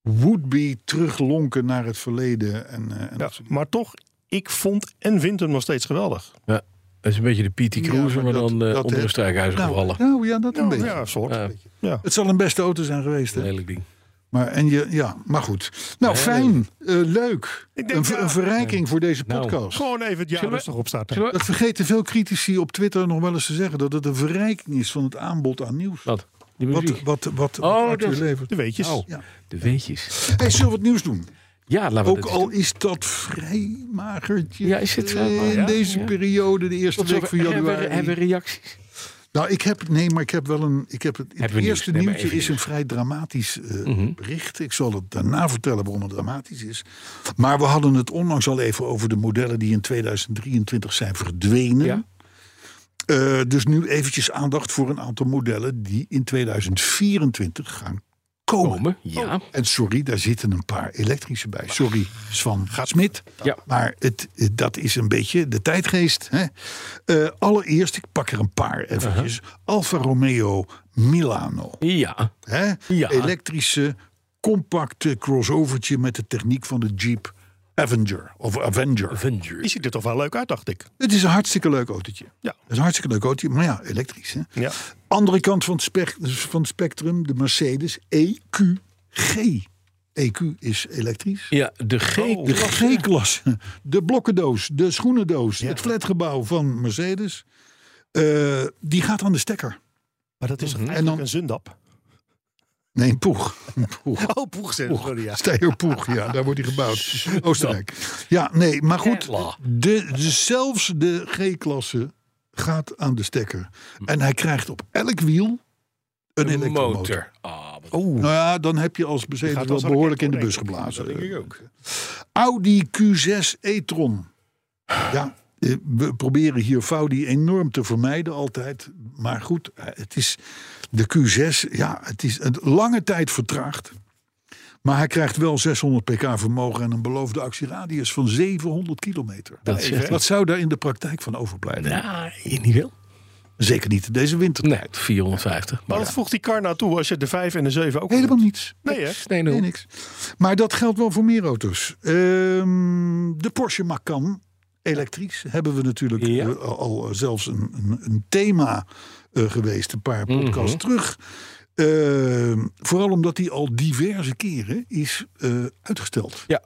[SPEAKER 2] would-be teruglonken naar het verleden. En, eh, en
[SPEAKER 4] Ja,
[SPEAKER 2] dat soort
[SPEAKER 4] maar toch, ik vond en vind hem nog steeds geweldig.
[SPEAKER 3] Ja, dat is een beetje de P.T.
[SPEAKER 2] Ja,
[SPEAKER 3] Cruiser,
[SPEAKER 2] maar
[SPEAKER 3] maar
[SPEAKER 2] dat-
[SPEAKER 3] dan eh,
[SPEAKER 2] dat
[SPEAKER 3] onder een
[SPEAKER 2] heeft-
[SPEAKER 3] strijkhuizen
[SPEAKER 2] dingen.
[SPEAKER 3] gevallen.
[SPEAKER 2] nou, nou ja, dat een beetje.
[SPEAKER 4] Ja, een soort.
[SPEAKER 3] Ja.
[SPEAKER 4] Ja.
[SPEAKER 2] Het zal een beste auto zijn geweest. Hè?
[SPEAKER 3] Lelijk ding.
[SPEAKER 2] Maar, en je, ja, maar goed. Nou, fijn. eh, leuk.
[SPEAKER 4] Ik denk,
[SPEAKER 2] een, ver-
[SPEAKER 4] ja.
[SPEAKER 2] een verrijking voor deze
[SPEAKER 3] Nou.
[SPEAKER 2] podcast.
[SPEAKER 4] Gewoon even het jaar
[SPEAKER 3] Zullen we-
[SPEAKER 4] rustig opstarten.
[SPEAKER 3] Zullen we-
[SPEAKER 2] Dat vergeten veel critici op Twitter nog wel eens te zeggen. Dat het een verrijking is van het aanbod aan nieuws.
[SPEAKER 3] Wat? Die
[SPEAKER 2] Wat,
[SPEAKER 3] muziek.
[SPEAKER 2] wat, wat, wat
[SPEAKER 3] Oh,
[SPEAKER 2] Arthur
[SPEAKER 3] dat-
[SPEAKER 2] levert.
[SPEAKER 4] De weetjes.
[SPEAKER 3] Oh,
[SPEAKER 2] Ja.
[SPEAKER 3] de weetjes.
[SPEAKER 2] Hey, zullen we wat nieuws doen?
[SPEAKER 3] Ja, laten we
[SPEAKER 2] Ook
[SPEAKER 3] dat-
[SPEAKER 2] al is dat vrij magertje.
[SPEAKER 3] Ja, is het vrij
[SPEAKER 2] eh,
[SPEAKER 3] mager,
[SPEAKER 2] In
[SPEAKER 3] ja?
[SPEAKER 2] deze
[SPEAKER 3] Ja.
[SPEAKER 2] periode, de eerste
[SPEAKER 3] Tot zover.
[SPEAKER 2] week van
[SPEAKER 3] Hebben we-
[SPEAKER 2] januari.
[SPEAKER 3] Hebben we reacties?
[SPEAKER 2] Nou, ik heb, nee, maar ik heb wel een. Ik heb het, het
[SPEAKER 3] Hebben we
[SPEAKER 2] eerste
[SPEAKER 3] nieuws? Nee, maar
[SPEAKER 2] nieuwtje
[SPEAKER 3] even Mhm.
[SPEAKER 2] is een
[SPEAKER 3] nieuws.
[SPEAKER 2] vrij dramatisch eh, bericht. Ik zal het daarna vertellen waarom het dramatisch is. Maar we hadden het onlangs al even over de modellen die in 2023 zijn verdwenen.
[SPEAKER 3] Ja.
[SPEAKER 2] Eh, dus nu eventjes aandacht voor een aantal modellen die in 2024 gaan komen.
[SPEAKER 3] Komen, ja.
[SPEAKER 2] En sorry, daar zitten een paar elektrische bij. Sorry, Swan Smit.
[SPEAKER 3] Ja.
[SPEAKER 2] Maar het, het- dat is een beetje de
[SPEAKER 3] Uh-huh.
[SPEAKER 2] tijdgeest. Hè? Eh, allereerst, ik pak er een paar eventjes. Alfa Romeo Milano.
[SPEAKER 3] Ja.
[SPEAKER 2] Hè?
[SPEAKER 3] Ja.
[SPEAKER 2] Elektrische, compacte crossovertje met de techniek van de Jeep Avenger. Of Avenger.
[SPEAKER 4] Die ziet er toch wel leuk uit, dacht ik.
[SPEAKER 2] Het is een hartstikke leuk autootje.
[SPEAKER 4] Ja.
[SPEAKER 2] Het is een hartstikke leuk autootje, maar ja, elektrisch. Hè?
[SPEAKER 4] Ja.
[SPEAKER 2] Andere kant van het, spec- van het spectrum, de Mercedes E EQG. EQ E is elektrisch.
[SPEAKER 3] Ja, de G.
[SPEAKER 2] De G-klasse, de blokkendoos, de schoenendoos, het flatgebouw van Mercedes. eh, die gaat aan de stekker.
[SPEAKER 4] Maar dat is toch
[SPEAKER 2] En
[SPEAKER 4] eigenlijk
[SPEAKER 2] dan-
[SPEAKER 4] een zundap?
[SPEAKER 2] Nee, een poeg. Een poeg.
[SPEAKER 4] Oh, poeg, sorry, ja.
[SPEAKER 2] Steierpoeg, ja, daar wordt hij gebouwd. Oostenrijk. Ja, nee, maar goed. De, de- zelfs de G-klasse gaat aan de stekker. En hij krijgt op elk wiel een
[SPEAKER 3] Een
[SPEAKER 2] elektromotor.
[SPEAKER 3] motor. Ah, wat-
[SPEAKER 2] Nou ja, dan heb je als
[SPEAKER 4] gaat
[SPEAKER 2] Mercedes
[SPEAKER 4] als
[SPEAKER 2] wel
[SPEAKER 4] raket
[SPEAKER 2] behoorlijk in de bus
[SPEAKER 4] doorheen.
[SPEAKER 2] geblazen. Eh,
[SPEAKER 4] Dat denk ik ook.
[SPEAKER 2] Audi Q6 e-tron. Ja, eh, we proberen hier Faudi enorm te vermijden altijd. Maar goed, eh, het is de Q6. Ja, het is een lange tijd vertraagd. Maar hij krijgt wel 600 pk vermogen en een beloofde actieradius van 700 kilometer.
[SPEAKER 3] Dat zegt hij. Nou.
[SPEAKER 2] Wat zou daar in de praktijk van overblijven?
[SPEAKER 3] Ja, niet veel.
[SPEAKER 2] Zeker niet deze winter.
[SPEAKER 3] Nee, 450.
[SPEAKER 4] Maar
[SPEAKER 3] Maar
[SPEAKER 4] wat voegt die kar nou toe als je de 5 en de 7 ook...
[SPEAKER 2] Helemaal niets.
[SPEAKER 4] Nee, hè?
[SPEAKER 3] nee, nul.
[SPEAKER 2] Nee, niks. Maar dat geldt wel voor meer auto's. Ehm, de Porsche Macan, elektrisch, hebben we natuurlijk
[SPEAKER 3] Ja.
[SPEAKER 2] eh, al, al zelfs een, een, een thema eh, geweest, een paar
[SPEAKER 3] Mhm.
[SPEAKER 2] podcasts terug. Ehm, vooral omdat die al diverse keren is eh, uitgesteld.
[SPEAKER 3] Ja.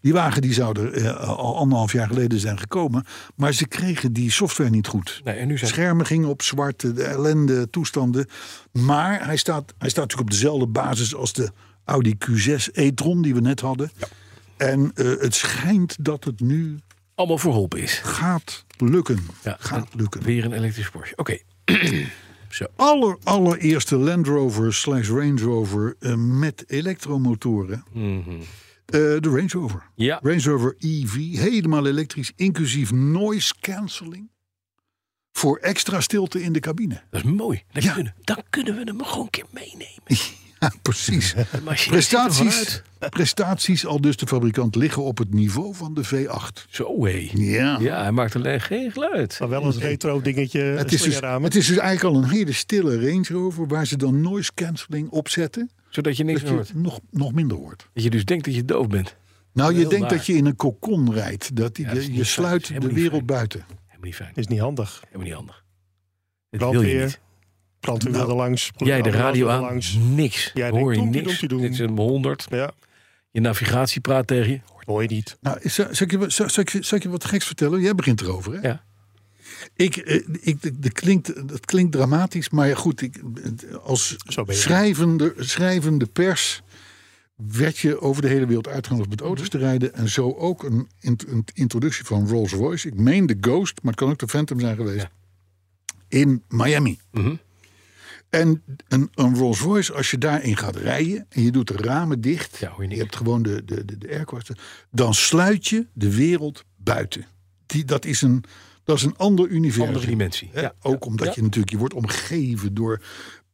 [SPEAKER 2] Die wagen die zou er eh, al anderhalf jaar geleden zijn gekomen, maar ze kregen die software niet goed.
[SPEAKER 3] Nee, en nu zijn
[SPEAKER 2] Schermen gingen op zwart, de ellende, toestanden. Maar hij staat, hij staat natuurlijk op dezelfde basis als de Audi Q6 e-tron die we net hadden. En eh, het schijnt dat het nu
[SPEAKER 3] allemaal verholpen is.
[SPEAKER 2] gaat lukken.
[SPEAKER 3] Ja,
[SPEAKER 2] gaat lukken.
[SPEAKER 3] Weer een elektrisch Porsche. Oké.
[SPEAKER 2] Aller, allereerste Land Rover slash Range Rover eh, met elektromotoren. Eh, de Range Rover.
[SPEAKER 3] Mhm. Ja.
[SPEAKER 2] Range Rover EV, helemaal elektrisch, inclusief noise cancelling. Voor extra stilte in de cabine.
[SPEAKER 3] Dat is mooi. Dan,
[SPEAKER 2] Ja.
[SPEAKER 3] kunnen, dan kunnen we hem gewoon een keer meenemen.
[SPEAKER 2] Ja, precies.
[SPEAKER 3] De machine ziet er
[SPEAKER 2] Prestaties,
[SPEAKER 3] wel uit.
[SPEAKER 2] prestaties, al dus de fabrikant, liggen op het niveau van de V8.
[SPEAKER 3] Zo hé.
[SPEAKER 2] Ja.
[SPEAKER 3] Ja, hij maakt alleen geen geluid.
[SPEAKER 4] Maar wel een retro dingetje, eh,
[SPEAKER 2] Het is, dus,
[SPEAKER 4] slingerramen.
[SPEAKER 2] het is dus eigenlijk al een hele stille Range Rover... waar ze dan noise cancelling op zetten...
[SPEAKER 3] Zodat je niks
[SPEAKER 2] dat
[SPEAKER 3] meer hoort.
[SPEAKER 2] je nog, nog minder hoort.
[SPEAKER 3] Dat je dus denkt dat je doof bent.
[SPEAKER 2] Nou, je
[SPEAKER 3] Heel
[SPEAKER 2] denkt
[SPEAKER 3] waar.
[SPEAKER 2] dat je in een kokon rijdt. Dat die-
[SPEAKER 3] Ja, dat is
[SPEAKER 2] je, je
[SPEAKER 3] niet fijn.
[SPEAKER 2] sluit
[SPEAKER 3] Dat is helemaal
[SPEAKER 2] de
[SPEAKER 3] niet
[SPEAKER 2] wereld
[SPEAKER 3] fijn.
[SPEAKER 2] buiten.
[SPEAKER 3] Helemaal niet fijn.
[SPEAKER 4] is niet handig.
[SPEAKER 3] Helemaal niet handig. Dat wil je
[SPEAKER 4] Brandweer,
[SPEAKER 3] niet.
[SPEAKER 4] brandweer wil er langs.
[SPEAKER 3] Jij de radio aan.
[SPEAKER 4] Langs.
[SPEAKER 3] Niks.
[SPEAKER 4] Jij
[SPEAKER 3] Hoor je
[SPEAKER 4] denkt, doem,
[SPEAKER 3] niks.
[SPEAKER 4] doem, doem, doem.
[SPEAKER 3] Dit is een 100.
[SPEAKER 4] Ja,
[SPEAKER 3] Je navigatie praat tegen je.
[SPEAKER 4] hoor je niet.
[SPEAKER 2] Nou, zal, zal ik je, wat- zal, zal ik, je- zal ik je wat geks vertellen? Jij begint erover, hè?
[SPEAKER 3] Ja.
[SPEAKER 2] Ik, eh, ik, de- de klinkt, dat klinkt dramatisch, maar ja, goed, ik, als
[SPEAKER 4] Zo ben je.
[SPEAKER 2] schrijvende, schrijvende pers werd je over de hele wereld uitgenodigd met
[SPEAKER 3] Mhm.
[SPEAKER 2] auto's te rijden. En zo ook een, int- een introductie van Rolls Royce. Ik meen de Ghost, maar het kan ook de Phantom zijn geweest. In Miami.
[SPEAKER 3] Mhm.
[SPEAKER 2] En een, een Rolls Royce, als je daarin gaat rijden en je doet de ramen dicht,
[SPEAKER 3] Ja, hoor je niks.
[SPEAKER 2] hebt gewoon de, de, de, de aircoasten, dan sluit je de wereld buiten. Die, dat, is een, dat is een ander universum.
[SPEAKER 3] Andere dimensie.
[SPEAKER 2] Hè?
[SPEAKER 3] Ja.
[SPEAKER 2] Ook omdat je natuurlijk, je wordt omgeven door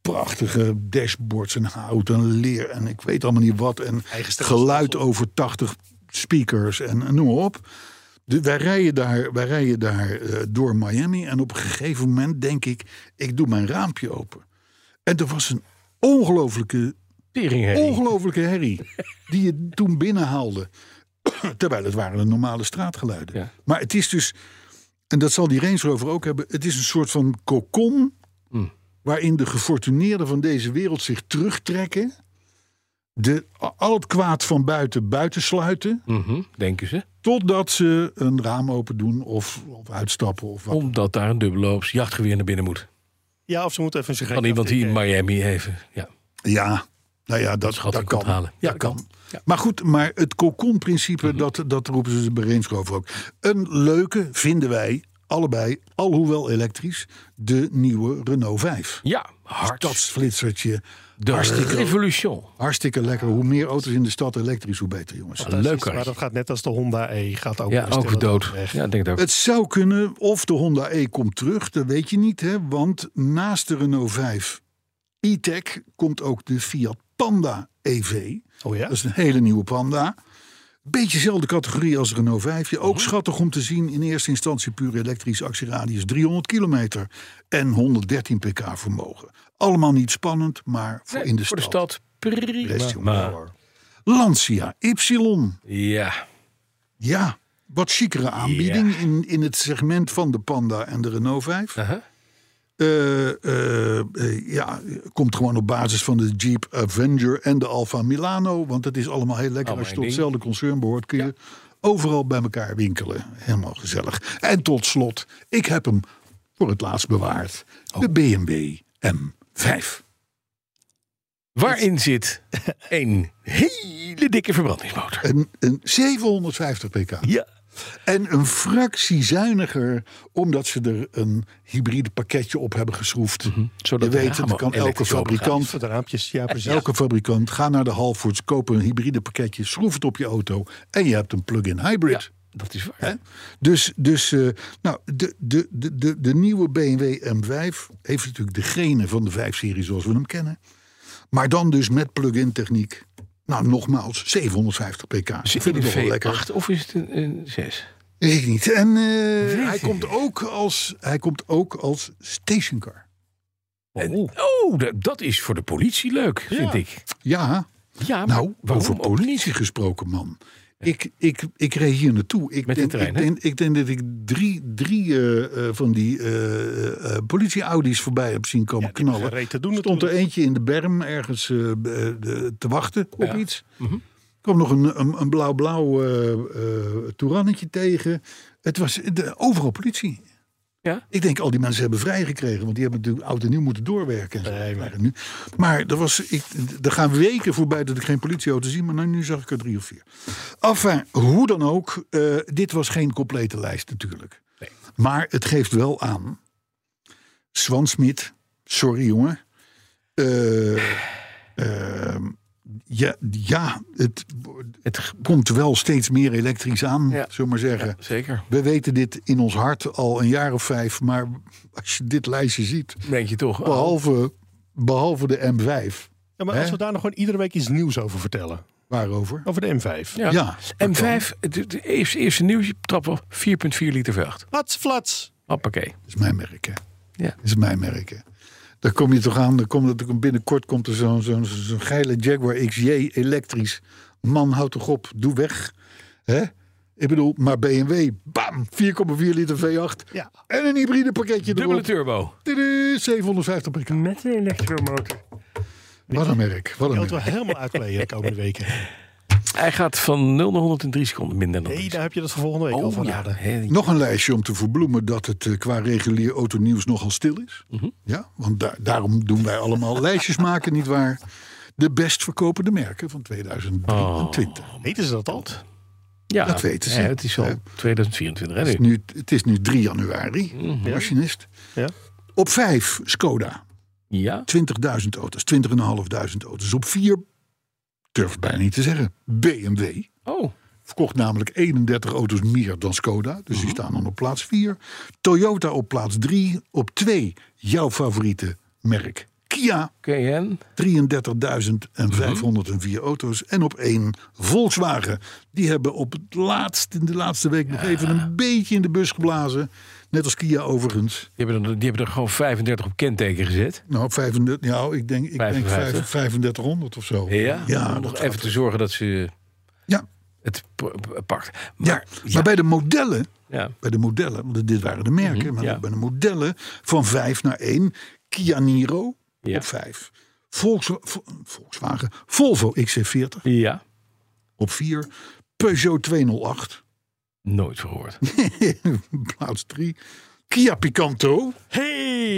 [SPEAKER 2] prachtige dashboards en hout en leer en ik weet allemaal niet wat. En geluid over 80 speakers en, en noem maar op. De- wij rijden daar, wij rijden daar eh, door Miami en op een gegeven moment denk ik, ik doe mijn raampje open. En er was een ongelofelijke
[SPEAKER 3] Tering,
[SPEAKER 2] ongelofelijke herrie. Die je toen binnenhaalde. Terwijl het waren de normale straatgeluiden.
[SPEAKER 3] Ja.
[SPEAKER 2] Maar het is dus, en dat zal die Range Rover ook hebben. Het is een soort van kokon. Waarin de gefortuneerden van deze wereld zich terugtrekken. De, al het kwaad van buiten buitensluiten.
[SPEAKER 3] denken ze.
[SPEAKER 2] Totdat ze een raam open doen of, of uitstappen. Of wat.
[SPEAKER 3] Omdat daar een dubbelloops jachtgeweer naar binnen moet.
[SPEAKER 4] Ja, of ze moeten even zijn
[SPEAKER 3] Kan iemand die in Miami even. Ja,
[SPEAKER 2] Ja, nou ja, dat,
[SPEAKER 3] schat
[SPEAKER 2] dat
[SPEAKER 3] ik
[SPEAKER 2] kan.
[SPEAKER 3] onthalen.
[SPEAKER 2] Ja, Mhm.
[SPEAKER 3] Ja,
[SPEAKER 2] dat kan.
[SPEAKER 3] kan. Ja.
[SPEAKER 2] Maar goed, maar het cocon-principe, dat, dat roepen ze bij Range Rover ook. Een leuke vinden wij allebei, alhoewel elektrisch, de nieuwe Renault Dus 5.
[SPEAKER 3] ja hard.
[SPEAKER 2] Stadsflitsertje.
[SPEAKER 3] de
[SPEAKER 2] hartstikke,
[SPEAKER 3] revolution.
[SPEAKER 2] hartstikke lekker. Hoe meer auto's in de stad elektrisch, hoe beter, jongens.
[SPEAKER 3] Leuker.
[SPEAKER 4] Maar dat gaat net als de Honda E. Gaat ook
[SPEAKER 3] Ja,
[SPEAKER 4] weer
[SPEAKER 3] ook
[SPEAKER 4] stille
[SPEAKER 3] dood.
[SPEAKER 4] weg.
[SPEAKER 3] Ja, ik denk dat ook.
[SPEAKER 2] Het zou kunnen, of de Honda E komt terug, dat weet je niet, hè? Want naast de Renault 5 e-tech komt ook de Fiat Panda E EV.
[SPEAKER 4] Oh ja?
[SPEAKER 2] Dat is een hele nieuwe Panda. Beetje dezelfde categorie als Renault 5. Ook schattig om te zien. In eerste instantie puur elektrisch. Actieradius 300 kilometer. En 113 pk vermogen. Allemaal niet spannend, maar voor in de
[SPEAKER 3] voor
[SPEAKER 2] stad.
[SPEAKER 3] de stad. Prima.
[SPEAKER 2] Best jongen. Lancia Y.
[SPEAKER 3] Ja.
[SPEAKER 2] Ja, wat chicere aanbieding in, in het segment van de Panda en de Renault 5.
[SPEAKER 3] Aha.
[SPEAKER 2] Eh, eh, eh, ja, komt gewoon op basis van de Jeep Avenger en de Alfa Milano. Want het is allemaal heel lekker.
[SPEAKER 3] Allemaal
[SPEAKER 2] Als je
[SPEAKER 3] één
[SPEAKER 2] tot
[SPEAKER 3] ding.
[SPEAKER 2] hetzelfde concern behoort, kun je overal bij elkaar winkelen. Helemaal gezellig. En tot slot, ik heb hem voor het laatst bewaard.
[SPEAKER 3] Oh.
[SPEAKER 2] De BMW M5.
[SPEAKER 3] Waarin zit een hele dikke verbrandingsmotor.
[SPEAKER 2] Een, een 750 pk.
[SPEAKER 3] Ja.
[SPEAKER 2] En een fractie zuiniger, omdat ze er een hybride pakketje op hebben geschroefd.
[SPEAKER 3] Zodat
[SPEAKER 2] Je
[SPEAKER 3] de
[SPEAKER 2] weet, het,
[SPEAKER 3] ramen
[SPEAKER 2] dat kan elke
[SPEAKER 3] elektrisch opengaan.
[SPEAKER 2] fabrikant.
[SPEAKER 4] Voor de raampjes, ja precies.
[SPEAKER 2] Elke fabrikant, ga naar de Halfords, koop een hybride pakketje, schroef het op je auto en je hebt een plug-in hybrid.
[SPEAKER 3] Dat is waar.
[SPEAKER 2] Hè? Dus, dus eh, nou, de, de, de, de, de nieuwe BMW M5 heeft natuurlijk de genen van de 5-serie zoals we hem kennen. Maar dan dus met plug-in techniek. Nou, nogmaals, 750 pk. Ik
[SPEAKER 3] Is
[SPEAKER 2] vind
[SPEAKER 3] het
[SPEAKER 2] het nog wel
[SPEAKER 3] een
[SPEAKER 2] lekker.
[SPEAKER 3] V8 of is het een, een 6?
[SPEAKER 2] Weet ik niet. En eh, hij, komt ook als, hij komt ook als stationcar.
[SPEAKER 3] Oh, dat, dat is voor de politie leuk, vind ik.
[SPEAKER 2] Ja,
[SPEAKER 3] Ja,
[SPEAKER 2] nou,
[SPEAKER 3] waarom
[SPEAKER 2] over
[SPEAKER 3] ook niet?
[SPEAKER 2] politie gesproken, man. Ik, ik, ik reed hier naartoe. Ik,
[SPEAKER 3] Met de
[SPEAKER 2] denk,
[SPEAKER 3] trein,
[SPEAKER 2] ik,
[SPEAKER 3] hè?
[SPEAKER 2] denk, ik denk dat ik drie, drie eh, eh, van die eh, eh, politie-Audi's voorbij heb zien komen knallen.
[SPEAKER 4] reed te doen
[SPEAKER 2] stond er eentje in de berm ergens eh, b- eh, de- te wachten op iets. Er kwam nog een, een, een blauw-blauw eh, eh, toerannetje tegen. Het was de, overal politie.
[SPEAKER 3] Ja?
[SPEAKER 2] Ik denk, al die mensen hebben vrijgekregen. Want die hebben natuurlijk oud en nieuw moeten doorwerken. En zo. maar. Nu. maar er, was, ik, er gaan weken voorbij dat ik geen politieauto zie. Maar nou, nu zag ik er drie of vier. Enfin, hoe dan ook. eh, dit was geen complete lijst natuurlijk. Maar het geeft wel aan. Swan Smit, sorry jongen. Eh, eh, ja, ja, het
[SPEAKER 3] Het,
[SPEAKER 2] komt wel steeds meer elektrisch aan,
[SPEAKER 3] Ja.
[SPEAKER 2] zullen we maar zeggen.
[SPEAKER 3] zeker.
[SPEAKER 2] We weten dit in ons hart al een jaar of vijf, maar als je dit lijstje ziet,
[SPEAKER 3] Denk je toch? Oh,
[SPEAKER 2] behalve, behalve de M5,
[SPEAKER 4] Ja, maar als
[SPEAKER 2] Hè?
[SPEAKER 4] we daar nog gewoon iedere week iets nieuws over vertellen.
[SPEAKER 2] waarover?
[SPEAKER 4] Over de M5.
[SPEAKER 3] ja.
[SPEAKER 2] ja,
[SPEAKER 3] M5, het het eerste, eerste nieuwsje, trap wel 4,4 liter V8.
[SPEAKER 4] Flats, flats.
[SPEAKER 3] Hoppakee.
[SPEAKER 2] Dat is mijn merk, hè?
[SPEAKER 3] Ja.
[SPEAKER 2] Dat is mijn merk, hè? Daar kom je toch aan, dan komt er, binnenkort komt er zo'n zo'n zo'n geile Jaguar XJ elektrisch. Man, houd toch op, doe weg. Hè? Ik bedoel, maar BMW, bam, 4,4 liter V8.
[SPEAKER 4] Ja.
[SPEAKER 2] En een hybride pakketje
[SPEAKER 3] Dubbele
[SPEAKER 2] erop.
[SPEAKER 3] turbo.
[SPEAKER 2] Tudu, 750 pk.
[SPEAKER 4] Met een elektromotor.
[SPEAKER 2] Wat een merk, wat een
[SPEAKER 4] Je wilt wel
[SPEAKER 2] merk.
[SPEAKER 4] helemaal uitkleden de komende weken.
[SPEAKER 3] Hij gaat van 0 naar 100 in 3 seconden minder dan
[SPEAKER 4] Nee,
[SPEAKER 3] drie
[SPEAKER 4] daar heb je dat voor volgende week al
[SPEAKER 3] seconden.
[SPEAKER 4] van.
[SPEAKER 3] Oh ja, hè,
[SPEAKER 2] Nog een lijstje om te verbloemen dat het eh, qua regulier autonieuws nogal stil is. Ja, want da- daarom doen wij allemaal lijstjes maken, nietwaar? De best verkopende merken van 2023.
[SPEAKER 4] Weten ze dat al?
[SPEAKER 3] ja,
[SPEAKER 2] dat weten ze.
[SPEAKER 3] Ja, het is al
[SPEAKER 2] Ja.
[SPEAKER 3] 2024 hè, nu. Mhm.
[SPEAKER 2] Het, is nu, het is nu 3 januari, machinist.
[SPEAKER 4] Ja.
[SPEAKER 2] Op 5 Skoda,
[SPEAKER 3] Ja,
[SPEAKER 2] 20.000 auto's, 20.500 auto's. Op 4, durf het bijna niet te zeggen, BMW.
[SPEAKER 3] oh,
[SPEAKER 2] Verkocht namelijk 31 auto's meer dan Skoda. Dus
[SPEAKER 3] Mhm.
[SPEAKER 2] die staan dan op plaats 4. Toyota op plaats 3. Op 2 jouw favoriete merk Kia.
[SPEAKER 3] KN.
[SPEAKER 2] 33.504 auto's. En op één Volkswagen. Die hebben op het laatst, in de laatste week nog even een beetje in de bus geblazen. Net als Kia overigens.
[SPEAKER 3] Die hebben, er, die hebben er gewoon 35 op kenteken gezet.
[SPEAKER 2] Nou, 35, nou ik denk, ik denk
[SPEAKER 3] 55.
[SPEAKER 2] 3500 of zo.
[SPEAKER 3] Ja,
[SPEAKER 2] ja
[SPEAKER 3] om
[SPEAKER 2] dat
[SPEAKER 3] nog even te zorgen dat ze
[SPEAKER 2] Ja,
[SPEAKER 3] het p- pakt.
[SPEAKER 2] ja.
[SPEAKER 3] Maar, ja,
[SPEAKER 2] Maar bij de modellen
[SPEAKER 3] ja.
[SPEAKER 2] bij de modellen, want dit waren de merken, maar
[SPEAKER 3] Mhm, ja.
[SPEAKER 2] bij de modellen van 5 naar 1, Kia Niro
[SPEAKER 3] Ja.
[SPEAKER 2] op 5. Volks, Vo- Volkswagen, Volvo XC40
[SPEAKER 3] Ja,
[SPEAKER 2] op 4. Peugeot 208,
[SPEAKER 3] nooit verhoord.
[SPEAKER 2] plaats 3. Kia Picanto. Hey!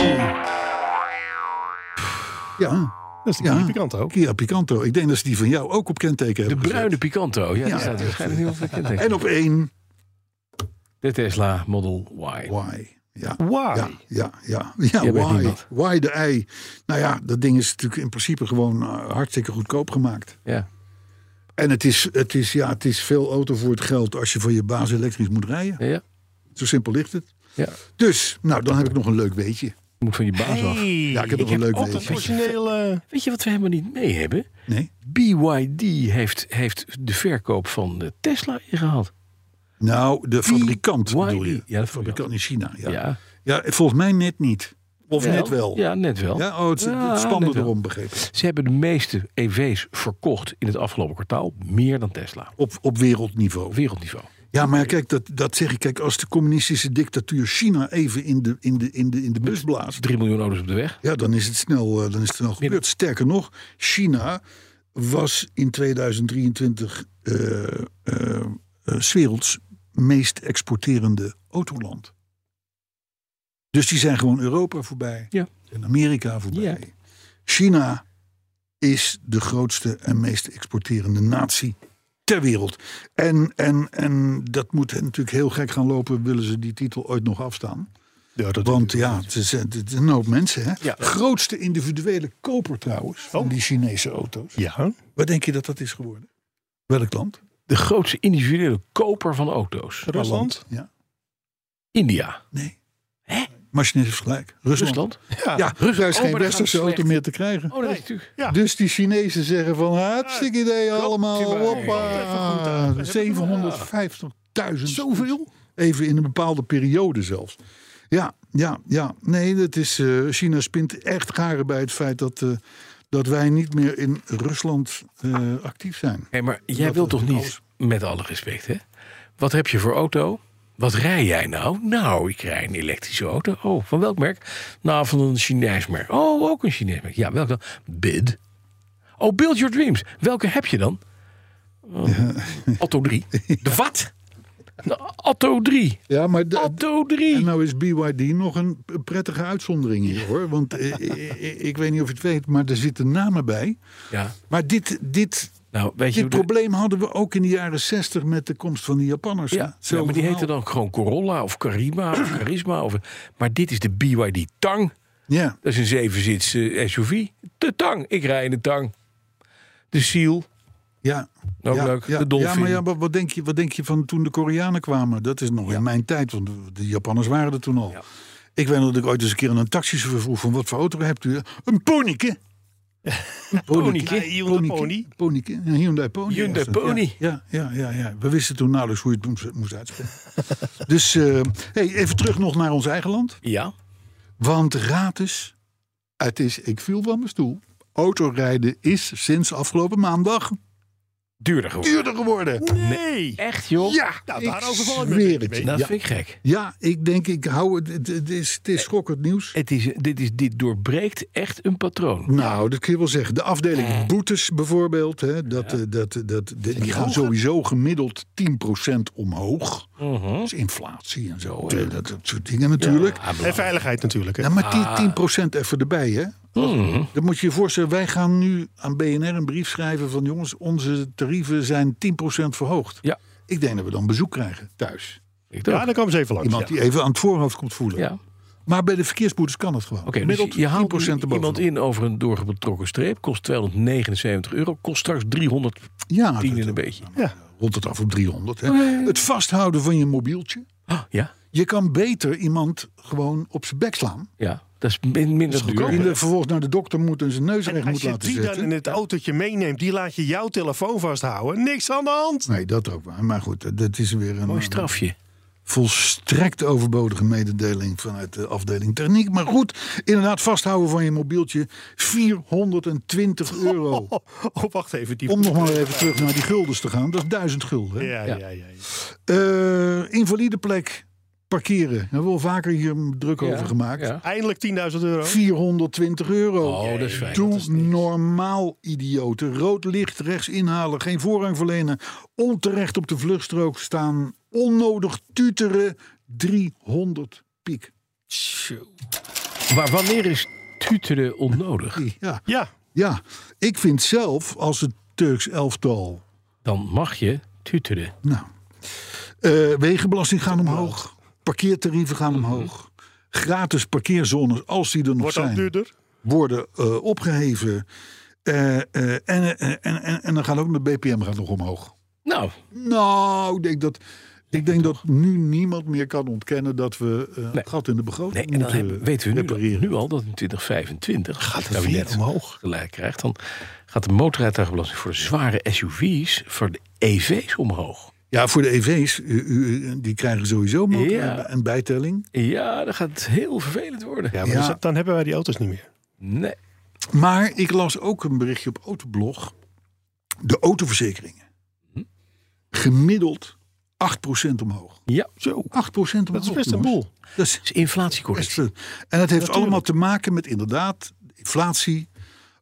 [SPEAKER 2] Ja,
[SPEAKER 4] Dat is de
[SPEAKER 2] Ja.
[SPEAKER 4] ja. Picanto.
[SPEAKER 2] Kia Picanto. Ik denk dat ze die van jou ook op kenteken
[SPEAKER 3] De
[SPEAKER 2] hebben gezet.
[SPEAKER 3] bruine Picanto. Ja,
[SPEAKER 2] Ja.
[SPEAKER 3] die staat waarschijnlijk niet op de kenteken.
[SPEAKER 2] En op 1,
[SPEAKER 3] De Tesla Model Y.
[SPEAKER 2] Y. Ja.
[SPEAKER 4] Why?
[SPEAKER 2] Ja, ja, ja. ja
[SPEAKER 3] Jij bent
[SPEAKER 2] why,
[SPEAKER 3] niemand.
[SPEAKER 2] why de ei? Nou ja, dat ding is natuurlijk in principe gewoon eh, hartstikke goedkoop gemaakt.
[SPEAKER 3] Ja.
[SPEAKER 2] En het is, het, is, ja, het is veel auto voor het geld als je van je baas elektrisch moet rijden.
[SPEAKER 3] Ja.
[SPEAKER 2] Zo simpel ligt het.
[SPEAKER 3] ja.
[SPEAKER 2] Dus, nou, dan heb ik nog een leuk weetje.
[SPEAKER 3] Moet van je baas af.
[SPEAKER 2] Ja, ik heb nog
[SPEAKER 3] heb
[SPEAKER 2] een leuk
[SPEAKER 3] ook
[SPEAKER 2] weetje.
[SPEAKER 3] een-
[SPEAKER 4] Originele...
[SPEAKER 3] Weet je wat we helemaal niet mee hebben?
[SPEAKER 2] Nee?
[SPEAKER 3] BYD heeft, heeft de verkoop van de Tesla ingehaald.
[SPEAKER 2] Nou, de fabrikant
[SPEAKER 3] BYD.
[SPEAKER 2] bedoel je?
[SPEAKER 3] Ja, de
[SPEAKER 2] fabrikant in China. Ja. Ja.
[SPEAKER 3] Ja.
[SPEAKER 2] volgens mij net niet. Of net wel.
[SPEAKER 3] Ja, net wel.
[SPEAKER 2] Ja, oh, het, het
[SPEAKER 3] Ja, net
[SPEAKER 2] spande
[SPEAKER 3] wel.
[SPEAKER 2] erom begrepen.
[SPEAKER 3] Ze hebben de meeste EV's verkocht in het afgelopen kwartaal. Meer dan Tesla.
[SPEAKER 2] Op, op wereldniveau.
[SPEAKER 3] Op wereldniveau.
[SPEAKER 2] Ja, maar kijk, dat, dat zeg ik. Kijk, als de communistische dictatuur China even in de, in de, in de, in de bus blaast.
[SPEAKER 3] 3 miljoen auto's op de weg.
[SPEAKER 2] Ja, dan is het snel, eh, dan is het snel gebeurd. Sterker nog, China was in 2023 eh, eh, eh, 's werelds meest exporterende autoland. Dus die zijn gewoon Europa voorbij
[SPEAKER 3] Ja.
[SPEAKER 2] en Amerika voorbij.
[SPEAKER 3] Ja.
[SPEAKER 2] China is de grootste en meest exporterende natie ter wereld. En, en, en dat moet hen natuurlijk heel gek gaan lopen, willen ze die titel ooit nog afstaan.
[SPEAKER 4] Ja, dat
[SPEAKER 2] Want ja, het is, het is een hoop mensen. Hè? Grootste individuele koper trouwens van die Chinese auto's.
[SPEAKER 4] Oh. Ja.
[SPEAKER 2] Waar denk je dat dat is geworden? Welk land?
[SPEAKER 3] De grootste individuele koper van auto's.
[SPEAKER 4] Rusland?
[SPEAKER 2] Ja,
[SPEAKER 3] India.
[SPEAKER 2] nee. Machine heeft gelijk. Rusland.
[SPEAKER 3] Rusland.
[SPEAKER 2] Ja, daar is
[SPEAKER 3] Oh, maar
[SPEAKER 2] geen
[SPEAKER 3] dat
[SPEAKER 2] westerse
[SPEAKER 3] gaat
[SPEAKER 2] auto
[SPEAKER 3] slecht.
[SPEAKER 2] meer te krijgen.
[SPEAKER 3] Oh, dat is natuurlijk...
[SPEAKER 4] Ja.
[SPEAKER 2] Dus die Chinezen zeggen van hartstikke idee allemaal.
[SPEAKER 4] die waren- Even goed
[SPEAKER 2] Hoppa.
[SPEAKER 4] aan.
[SPEAKER 2] 750.000.
[SPEAKER 4] Zoveel?
[SPEAKER 2] Even in een bepaalde periode zelfs. Ja, ja, ja. Nee, dat is, eh, China spint echt garen bij het feit dat, eh, dat wij niet meer in Rusland eh, actief zijn.
[SPEAKER 3] Hé, maar jij
[SPEAKER 2] Dat
[SPEAKER 3] wilt
[SPEAKER 2] is
[SPEAKER 3] toch niet, met alle respect, hè? Wat heb je voor auto? Wat rij jij nou? Nou, ik rij een elektrische auto. Oh, van welk merk? Nou, van een Chinees merk. Oh, ook een Chinees merk. Ja, welk dan? Bid. Oh, Build Your Dreams. Welke heb je dan? Oh, Atto 3. De wat? Nou, Atto 3.
[SPEAKER 2] Ja, maar de-
[SPEAKER 3] Atto
[SPEAKER 2] En
[SPEAKER 3] 3.
[SPEAKER 2] nou is BYD nog een p- prettige uitzondering hier hoor. Want eh, eh, eh, ik weet niet of je het weet, maar er zitten namen bij.
[SPEAKER 3] Ja,
[SPEAKER 2] Maar dit, dit,
[SPEAKER 3] nou, weet je...
[SPEAKER 2] dit
[SPEAKER 3] hoe de-
[SPEAKER 2] probleem hadden we ook in de jaren 60 met de komst van de Japanners. hè?
[SPEAKER 3] Ja, ja,
[SPEAKER 2] Hetzelfde
[SPEAKER 3] maar die
[SPEAKER 2] verhaal.
[SPEAKER 3] heette dan gewoon Corolla of Karima of Charisma. Of, maar dit is de BYD Tang.
[SPEAKER 2] Ja,
[SPEAKER 3] Dat is een zevenzits eh, SUV. De tang. Ik rij in de tang. De Seal.
[SPEAKER 2] ja.
[SPEAKER 3] Ook
[SPEAKER 2] ja,
[SPEAKER 3] leuk.
[SPEAKER 2] Ja,
[SPEAKER 3] de Dolphin.
[SPEAKER 2] Ja, maar ja, wat, wat denk je, wat denk je van toen de Koreanen kwamen? Dat is nog in mijn tijd, want de Japanners waren er toen al. Ik weet nog dat ik ooit eens een keer aan een taxichauffeur vroeg van wat voor auto hebt u? Een ponyke. Een
[SPEAKER 3] Ponyke.
[SPEAKER 4] Hyundai Pony.
[SPEAKER 2] Ponyke. Een Hyundai Pony.
[SPEAKER 3] Hyundai
[SPEAKER 2] was dat, ja.
[SPEAKER 3] Pony.
[SPEAKER 2] Ja, ja, ja, ja. We wisten toen nauwelijks hoe je het moest, moest uitspreken. dus eh, hey, even terug nog naar ons eigen land.
[SPEAKER 3] Ja.
[SPEAKER 2] Want raad eens, het is, ik viel van mijn stoel. Autorijden is sinds afgelopen maandag
[SPEAKER 3] Duurder geworden.
[SPEAKER 2] duurder geworden.
[SPEAKER 4] Nee.
[SPEAKER 3] Echt joh?
[SPEAKER 2] Dus- Ja,
[SPEAKER 4] Nou,
[SPEAKER 2] ik
[SPEAKER 4] daarover val ik me een
[SPEAKER 2] zweer
[SPEAKER 4] beetje
[SPEAKER 2] het. Nou,
[SPEAKER 3] Dat
[SPEAKER 2] Ja,
[SPEAKER 3] vind ik gek.
[SPEAKER 2] ja, ik denk, ik hou het. Het, het is, het is schokkend nieuws.
[SPEAKER 3] Het is, dit, is, dit doorbreekt echt een patroon.
[SPEAKER 2] Nou, dat kun je wel zeggen. De afdeling boetes bijvoorbeeld, hè, dat, eh, dat, dat, de- die gaan sowieso gemiddeld 10% omhoog.
[SPEAKER 3] Mhm.
[SPEAKER 2] Dus inflatie en zo, eh, dat, dat soort dingen natuurlijk.
[SPEAKER 4] En veiligheid natuurlijk. Hè.
[SPEAKER 2] Ja, maar die 10% even erbij, hè?
[SPEAKER 3] Mhm.
[SPEAKER 2] Dan moet je je voorstellen, wij gaan nu aan BNR een brief schrijven van... jongens, onze tarieven zijn 10% verhoogd.
[SPEAKER 3] Ja.
[SPEAKER 2] Ik denk dat we dan bezoek krijgen thuis.
[SPEAKER 3] Ik
[SPEAKER 4] Ja,
[SPEAKER 3] dacht.
[SPEAKER 4] dan komen ze even langs.
[SPEAKER 2] Iemand die even aan het voorhoofd komt voelen.
[SPEAKER 3] Ja.
[SPEAKER 2] Maar bij de verkeersboetes kan het gewoon.
[SPEAKER 3] Oké, dus
[SPEAKER 2] Gemiddeld
[SPEAKER 3] je haalt
[SPEAKER 2] 10%
[SPEAKER 3] nu
[SPEAKER 2] erboven.
[SPEAKER 3] iemand in over een doorgetrokken streep. Kost 279 euro. Kost straks 310
[SPEAKER 2] Ja, dat-
[SPEAKER 3] en een beetje.
[SPEAKER 2] rond het af op 300.
[SPEAKER 3] Oh,
[SPEAKER 2] Hè. Het vasthouden van je mobieltje.
[SPEAKER 3] Ah, ja.
[SPEAKER 2] Je kan beter iemand gewoon op zijn bek slaan.
[SPEAKER 3] Ja. Dat is min- minder
[SPEAKER 2] Die
[SPEAKER 3] duur.
[SPEAKER 2] er vervolgens naar de dokter moet en zijn neus recht
[SPEAKER 4] En als
[SPEAKER 2] moet
[SPEAKER 4] je
[SPEAKER 2] laten
[SPEAKER 4] die dan
[SPEAKER 2] zetten.
[SPEAKER 4] in het autootje meeneemt, die laat je jouw telefoon vasthouden. Niks aan de hand.
[SPEAKER 2] Nee, dat ook waar. Maar goed, dat is weer een
[SPEAKER 3] Mooi
[SPEAKER 2] eh,
[SPEAKER 3] strafje.
[SPEAKER 2] volstrekt overbodige mededeling vanuit de afdeling techniek. Maar goed, inderdaad, vasthouden van je mobieltje. 420 euro.
[SPEAKER 4] Oh, wacht even. Die...
[SPEAKER 2] Om nog maar even terug naar die guldens te gaan. Dat is 1000 gulden. hè.
[SPEAKER 4] Ja, ja, ja. ja.
[SPEAKER 2] Eh, invalide plek parkeren. Daar hebben we al vaker hier druk over gemaakt.
[SPEAKER 3] Ja.
[SPEAKER 4] Eindelijk 10.000 euro.
[SPEAKER 2] 420 euro.
[SPEAKER 3] Oh, dat is fijn.
[SPEAKER 2] Doe normaal, idioten. Rood licht, rechts inhalen, geen voorrang verlenen. Onterecht op de vluchtstrook staan. Onnodig tuteren. 300 piek.
[SPEAKER 3] Maar wanneer is tuteren onnodig?
[SPEAKER 2] Ja,
[SPEAKER 4] Ja.
[SPEAKER 2] ja, ik vind zelf als het Turks elftal.
[SPEAKER 3] Dan mag je tuteren.
[SPEAKER 2] Nou, eh, wegenbelasting gaan omhoog. Parkeertarieven gaan
[SPEAKER 3] Mhm.
[SPEAKER 2] omhoog. Gratis parkeerzones, als die er nog
[SPEAKER 4] Wordt
[SPEAKER 2] zijn.
[SPEAKER 4] dat duurder?
[SPEAKER 2] worden eh, opgeheven. Eh, eh, en, eh, en, en, en dan gaat ook de BPM gaat nog omhoog.
[SPEAKER 3] Nou,
[SPEAKER 2] Nou, ik denk dat Ik denk dat nu niemand meer kan ontkennen dat we eh
[SPEAKER 3] Nee.
[SPEAKER 2] het gat in de begroting
[SPEAKER 3] Nee, en dan
[SPEAKER 2] moeten
[SPEAKER 3] hebben, weten we nu,
[SPEAKER 2] repareren.
[SPEAKER 3] nu al dat in 2025 gaat
[SPEAKER 4] het weer omhoog.
[SPEAKER 3] gelijk krijgt. Dan gaat de motorrijtuigenbelasting voor zware SUV's, voor de EV's omhoog.
[SPEAKER 2] Ja, voor de EV's, u- u- die krijgen sowieso motor
[SPEAKER 3] Ja.
[SPEAKER 2] en bijtelling.
[SPEAKER 3] Ja, dat gaat heel vervelend worden.
[SPEAKER 4] Ja, maar
[SPEAKER 2] Ja.
[SPEAKER 4] dus dan hebben wij die auto's niet meer.
[SPEAKER 3] Nee.
[SPEAKER 2] Maar ik las ook een berichtje op Autoblog. De autoverzekeringen.
[SPEAKER 4] Mhm.
[SPEAKER 2] Gemiddeld 8% omhoog. 8%
[SPEAKER 3] Ja,
[SPEAKER 2] omhoog.
[SPEAKER 4] Dat is best een
[SPEAKER 2] jongens.
[SPEAKER 4] boel.
[SPEAKER 2] Dat is
[SPEAKER 3] het is inflatiecorrectie.
[SPEAKER 2] best een- eh, En het heeft allemaal te maken met inderdaad inflatie.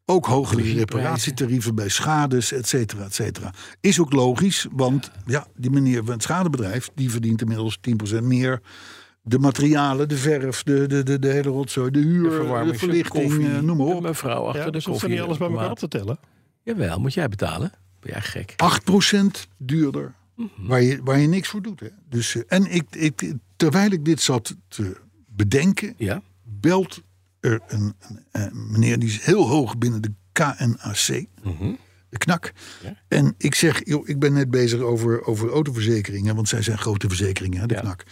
[SPEAKER 2] Ook hogere
[SPEAKER 3] Energieprijzen.
[SPEAKER 2] reparatietarieven bij schades, et cetera, et cetera. Is ook logisch, want ja, die meneer van het schadebedrijf... die verdient inmiddels 10% meer. De materialen, de verf, de, de, de, de hele rotzooi, de
[SPEAKER 4] eh,
[SPEAKER 2] huur, de,
[SPEAKER 3] verwarming,
[SPEAKER 2] verlichting,
[SPEAKER 3] koffie,
[SPEAKER 2] eh, noem maar
[SPEAKER 3] de
[SPEAKER 2] op.
[SPEAKER 3] Mevrouw achter
[SPEAKER 4] Ja,
[SPEAKER 3] de
[SPEAKER 4] dus hoef je
[SPEAKER 3] koffie. eh,
[SPEAKER 4] niet alles bij elkaar op te tellen.
[SPEAKER 3] Jawel, moet jij betalen? Ben jij gek?
[SPEAKER 2] 8% duurder. Waar, je, waar je niks voor doet. Hè? Dus, eh, en ik, ik, terwijl ik dit zat te bedenken,
[SPEAKER 3] Ja.
[SPEAKER 2] belt er een, een, eh, meneer die is heel hoog binnen de KNAC. De knak. En ik zeg, joh, ik ben net bezig over, over autoverzekeringen, want zij zijn grote verzekeringen, hè, de
[SPEAKER 3] Ja.
[SPEAKER 2] knak.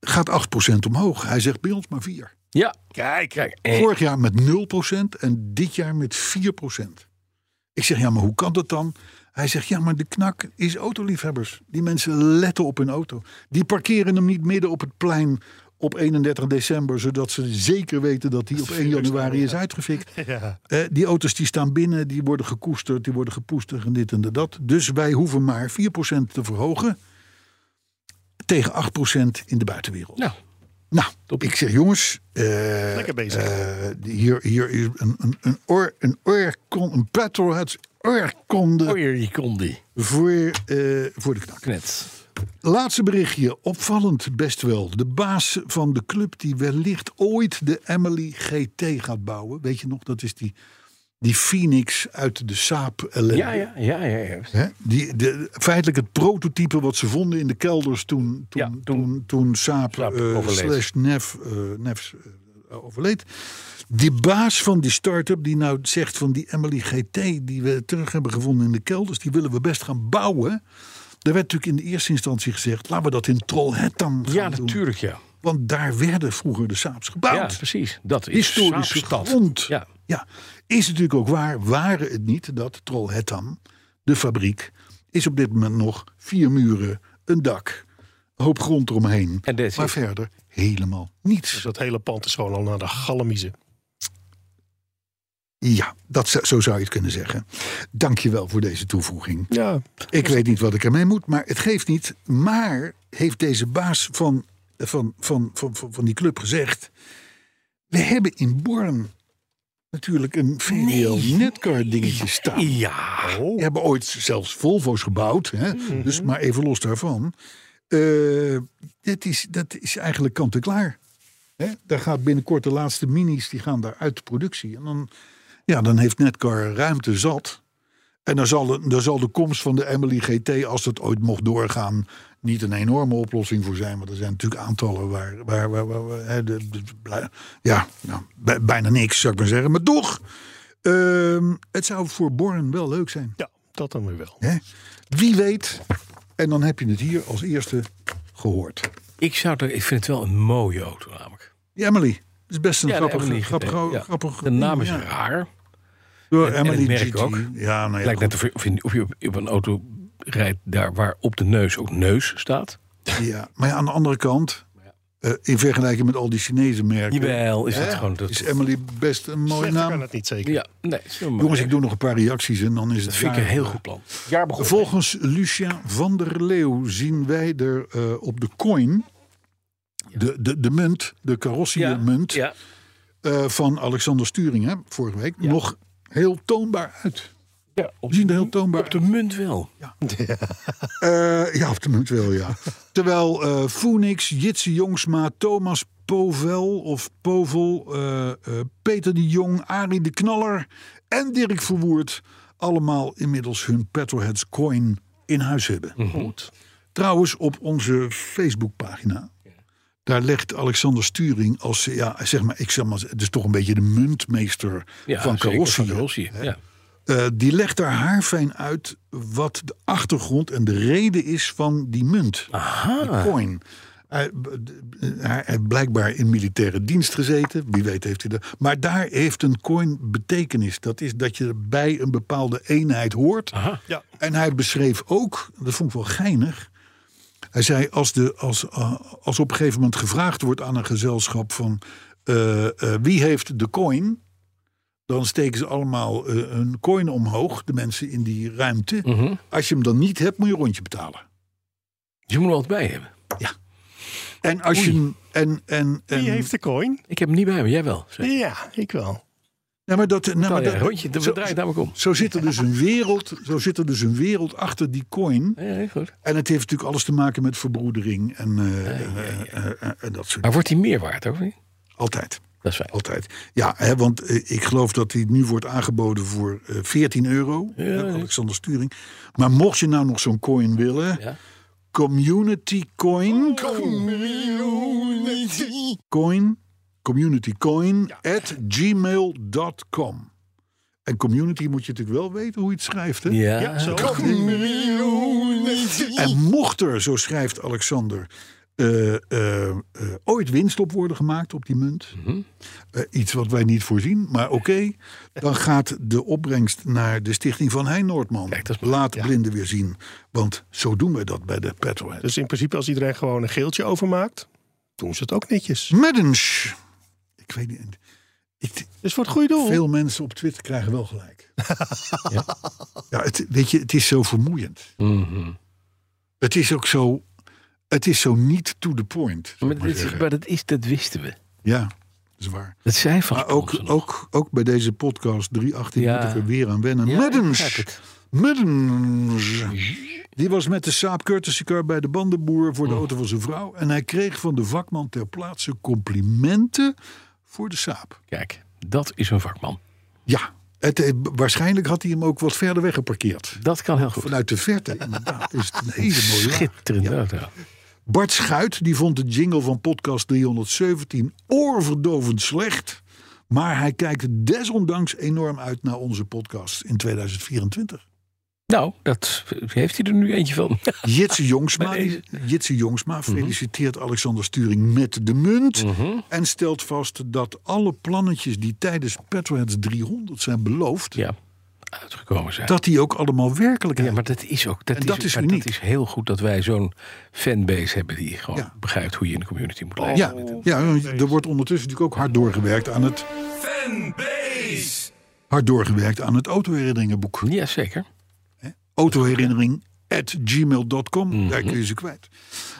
[SPEAKER 2] Gaat 8% omhoog. Hij zegt bij ons maar 4.
[SPEAKER 3] Ja, kijk, kijk. Eh,
[SPEAKER 2] Vorig jaar met 0% en dit jaar met 4%. Ik zeg, ja, maar hoe kan dat dan? Hij zegt, ja, maar de knak is autoliefhebbers. Die mensen letten op hun auto. Die parkeren hem niet midden op het plein op 31 december... zodat ze zeker weten dat die op 1 januari is uitgefikt. Eh, die auto's die staan binnen, die worden gekoesterd, die worden gepoesterd en dit en dat. Dus wij hoeven maar 4% te verhogen tegen 8% in de buitenwereld.
[SPEAKER 3] Nou,
[SPEAKER 2] Nou,
[SPEAKER 3] Toppie.
[SPEAKER 2] ik zeg jongens, eh,
[SPEAKER 4] Lekker bezig.
[SPEAKER 2] eh, hier, hier is een, een, een, oor, een oorkon, een petrolheads oorkonde
[SPEAKER 3] hoor je die kondi.
[SPEAKER 2] voor, eh, voor de knak.
[SPEAKER 3] Knet.
[SPEAKER 2] Laatste berichtje, opvallend best wel. De baas van de club die wellicht ooit de Emily GT gaat bouwen. Weet je nog, dat is die, die Phoenix uit de saap ellende.
[SPEAKER 3] Ja, ja, ja, ja. ja.
[SPEAKER 2] Hè? Die, de, feitelijk het prototype wat ze vonden in de kelders toen, toen,
[SPEAKER 3] Ja,
[SPEAKER 2] toen,
[SPEAKER 3] toen-
[SPEAKER 2] toen, Saab,
[SPEAKER 3] Saab
[SPEAKER 2] eh,
[SPEAKER 3] overleed.
[SPEAKER 2] slash Nef, eh, Nefs eh, overleed. Die baas van die start-up die nou zegt van die Emily GT die we terug hebben gevonden in de kelders, die willen we best gaan bouwen. Er werd natuurlijk in de eerste instantie gezegd, laten we dat in Trollhättan gaan
[SPEAKER 3] Ja,
[SPEAKER 2] doen.
[SPEAKER 3] natuurlijk, ja.
[SPEAKER 2] Want daar werden vroeger de Saabs
[SPEAKER 3] Ja,
[SPEAKER 2] gebouwd
[SPEAKER 3] precies. Dat is
[SPEAKER 2] historische
[SPEAKER 3] Saapstad.
[SPEAKER 2] grond.
[SPEAKER 3] Ja.
[SPEAKER 2] Is natuurlijk ook waar, waren het niet dat Trollhättan, de fabriek, is op dit moment nog vier muren, een dak, een hoop grond eromheen.
[SPEAKER 3] En dit is-
[SPEAKER 2] maar verder helemaal niets.
[SPEAKER 4] Dus dat hele pand is gewoon al naar de galmiezen.
[SPEAKER 2] Ja, dat, zo zo zou je het kunnen zeggen. Dankjewel voor deze toevoeging.
[SPEAKER 4] Ja,
[SPEAKER 2] Ik weet niet wat ik ermee moet, maar het geeft niet. Maar heeft deze baas van, van, van, van, van, van die club gezegd... We hebben in Born natuurlijk een VDL netcar dingetje staan.
[SPEAKER 3] Ja.
[SPEAKER 2] We hebben ooit zelfs Volvo's gebouwd. Hè? Dus maar even los daarvan. Eh, dit is, dat is eigenlijk kant en klaar. Hè? Daar gaat binnenkort de laatste minis, die gaan daar uit de productie. En dan, ja, dan heeft Netcar ruimte zat. En dan zal, de- dan zal de komst van de Emily GT, als dat ooit mocht doorgaan, niet een enorme oplossing voor zijn. Want er zijn natuurlijk aantallen waar. waar, waar, waar- waar- hè, de- de- blij- ja, nou, bij- bijna niks, zou ik maar zeggen. Maar toch, ehm, het zou voor Born wel leuk zijn.
[SPEAKER 4] ja dat dan weer wel.
[SPEAKER 2] Hè? Wie weet. En dan heb je het hier als eerste gehoord.
[SPEAKER 3] Ik, zou er, ik vind het wel een mooie auto namelijk.
[SPEAKER 2] Die Emily. Dat is best een
[SPEAKER 3] de
[SPEAKER 2] grappig,
[SPEAKER 3] Emily GT,
[SPEAKER 2] grappig,
[SPEAKER 3] ja.
[SPEAKER 2] grappig
[SPEAKER 3] De naam
[SPEAKER 2] ding,
[SPEAKER 3] is
[SPEAKER 2] ja.
[SPEAKER 3] raar.
[SPEAKER 2] Door
[SPEAKER 3] en het
[SPEAKER 2] Emily
[SPEAKER 3] merk
[SPEAKER 2] GT.
[SPEAKER 3] ook.
[SPEAKER 2] Ja, nou ja,
[SPEAKER 3] Lijkt
[SPEAKER 2] goed.
[SPEAKER 3] net of je, of je- of je op- op een auto rijdt daar waar op de neus ook neus staat.
[SPEAKER 2] ja. Maar ja, aan de andere kant, eh, in vergelijking met al die Chinese merken,
[SPEAKER 3] Jawel, is
[SPEAKER 2] hè,
[SPEAKER 3] het gewoon... Dat,
[SPEAKER 2] is Emily best een mooie
[SPEAKER 4] Slechter kan
[SPEAKER 2] naam.
[SPEAKER 4] het niet zeker.
[SPEAKER 3] ja, nee. het is wel mooi.
[SPEAKER 2] Jongens, ik doe nog een paar reacties en dan is het
[SPEAKER 3] Dat vind ik een
[SPEAKER 2] daar.
[SPEAKER 3] heel goed plan. Jaar begonnen.
[SPEAKER 2] Volgens Lucien van der Leeuw zien wij er eh, op de coin, de, de, de munt, de carrossiemunt,
[SPEAKER 3] Ja,
[SPEAKER 2] eh, van Alexander Sturing, hè, vorige week,
[SPEAKER 3] Ja.
[SPEAKER 2] nog heel toonbaar uit.
[SPEAKER 3] ja, op,
[SPEAKER 2] Die zien er heel toonbaar
[SPEAKER 3] op de munt wel.
[SPEAKER 2] Eh, ja, op de munt wel, ja. Terwijl eh Phoenix, Jitse Jongsma, Thomas Povel of Povel, eh, eh, Peter de Jong, Arie de Knaller en Dirk Verwoerd allemaal inmiddels hun Petroheads coin in huis hebben. Mhm. Goed. Trouwens, op onze Facebookpagina. Daar legt Alexander Sturing als, eh, ja, zeg maar, ik zeg maar, het is toch een beetje de muntmeester
[SPEAKER 3] Ja,
[SPEAKER 2] van
[SPEAKER 3] zeker,
[SPEAKER 2] Carrossie.
[SPEAKER 3] Van Carrossi, ja.
[SPEAKER 2] Eh, die legt daar haarfijn uit wat de achtergrond en de reden is van die munt. De coin. Hij, eh, hij heeft blijkbaar in militaire dienst gezeten. Wie weet heeft hij dat. Maar daar heeft een coin betekenis. Dat is dat je bij een bepaalde eenheid hoort.
[SPEAKER 4] Ja.
[SPEAKER 2] En hij beschreef ook, dat vond ik wel geinig. Hij zei, als, de, als, eh, als op een gegeven moment gevraagd wordt aan een gezelschap van... eh, eh, wie heeft de coin? Dan steken ze allemaal eh, een coin omhoog, de mensen in die ruimte.
[SPEAKER 3] Mhm.
[SPEAKER 2] Als je hem dan niet hebt, moet je een rondje betalen.
[SPEAKER 3] Je moet er altijd bij hebben.
[SPEAKER 2] En als je hem... En, en, en,
[SPEAKER 4] Wie heeft de coin?
[SPEAKER 3] Ik heb hem niet bij me, jij wel. zeg.
[SPEAKER 4] Ja, ik wel.
[SPEAKER 2] Nou, maar dat, nou, maar
[SPEAKER 3] Nou, ja,
[SPEAKER 2] dat-
[SPEAKER 3] rondje, dat
[SPEAKER 2] zo-
[SPEAKER 3] draait namelijk om.
[SPEAKER 2] Zo zit, er dus een wereld, zo zit er dus een wereld achter die coin.
[SPEAKER 3] Ja, ja, goed.
[SPEAKER 2] En het heeft natuurlijk alles te maken met verbroedering en, eh, eh, eh, eh, en dat soort
[SPEAKER 3] Maar wordt hij meer waard, hoor?
[SPEAKER 2] Altijd.
[SPEAKER 3] Dat is fijn.
[SPEAKER 2] Altijd. Ja, hè, want eh, ik geloof dat die nu wordt aangeboden voor eh, 14 euro. hè, Alexander Sturing. Maar mocht je nou nog zo'n coin willen.
[SPEAKER 3] Ja. Oh,
[SPEAKER 2] Community coin. Coin. Community coin. At gmail.com. En community moet je natuurlijk wel weten hoe je het schrijft. Hè?
[SPEAKER 3] Ja,
[SPEAKER 4] Zo.
[SPEAKER 2] En mocht er, zo schrijft Alexander, eh, eh, eh, ooit winst op worden gemaakt op die munt.
[SPEAKER 3] Mhm.
[SPEAKER 2] eh, iets wat wij niet voorzien, maar oké. dan gaat de opbrengst naar de stichting van Hein Noordman.
[SPEAKER 3] dat is mooi.
[SPEAKER 2] Laat blinden weer zien. Want zo doen we dat bij de Petrolhead.
[SPEAKER 4] Dus in principe als iedereen gewoon een geeltje overmaakt, doen ze het ook netjes.
[SPEAKER 3] Dus-
[SPEAKER 2] Maddens. Ik weet niet. Ik,
[SPEAKER 4] Dus voor het goede doel.
[SPEAKER 2] veel mensen op Twitter krijgen wel gelijk. ja, het, weet je, het is zo vermoeiend.
[SPEAKER 3] Mhm.
[SPEAKER 2] Het is ook zo. Het is zo niet to the point. zou
[SPEAKER 3] Maar,
[SPEAKER 2] ik maar
[SPEAKER 3] dat is,
[SPEAKER 2] zeggen.
[SPEAKER 3] maar dat is, dat wisten we.
[SPEAKER 2] Ja, dat is waar.
[SPEAKER 3] Dat zijn van
[SPEAKER 2] Maar ook,
[SPEAKER 3] sponsor nog.
[SPEAKER 2] ook, ook bij deze podcast 318
[SPEAKER 3] Ja.
[SPEAKER 2] moet ik er weer aan wennen.
[SPEAKER 3] Ja, ik
[SPEAKER 2] Middens.
[SPEAKER 3] merk het.
[SPEAKER 2] Middens. Die was met de Saab courtesy car bij de bandenboer
[SPEAKER 3] Oh.
[SPEAKER 2] voor de auto van zijn vrouw. En hij kreeg van de vakman ter plaatse complimenten voor de Saab.
[SPEAKER 3] Kijk, dat is een vakman.
[SPEAKER 2] Ja, het, eh, waarschijnlijk had hij hem ook wat verder weg geparkeerd.
[SPEAKER 3] Dat kan heel goed.
[SPEAKER 2] Vanuit de verte, inderdaad. Is het een hele mooie laag.
[SPEAKER 3] Schitterend. auto.
[SPEAKER 2] Bart Schuit die vond de jingle van podcast 317 oorverdovend slecht. Maar hij kijkt desondanks enorm uit naar onze podcast in 2024.
[SPEAKER 3] Nou, dat heeft hij er nu eentje van.
[SPEAKER 2] Jitse Jongsma,
[SPEAKER 3] Ah, Maar deze- Mhm.
[SPEAKER 2] die- Jitse Jongsma feliciteert Alexander Sturing met de munt. En stelt vast dat alle plannetjes die tijdens Petroheads 300 zijn beloofd...
[SPEAKER 3] ja, uitgekomen zijn.
[SPEAKER 2] dat die ook allemaal werkelijkheid
[SPEAKER 3] ja, maar dat is ook. Dat,
[SPEAKER 2] En
[SPEAKER 3] is,
[SPEAKER 2] dat is
[SPEAKER 3] maar
[SPEAKER 2] uniek.
[SPEAKER 3] dat is heel goed dat wij zo'n fanbase hebben die gewoon
[SPEAKER 2] Ja.
[SPEAKER 3] begrijpt hoe je in de community moet leven.
[SPEAKER 2] Ja, ja, er wordt ondertussen natuurlijk ook hard doorgewerkt aan het.
[SPEAKER 6] Fanbase!
[SPEAKER 2] Hard doorgewerkt aan het autoherinneringenboek.
[SPEAKER 3] Ja, zeker.
[SPEAKER 2] Autoherinnering at gmail.com. Daar kun je ze kwijt.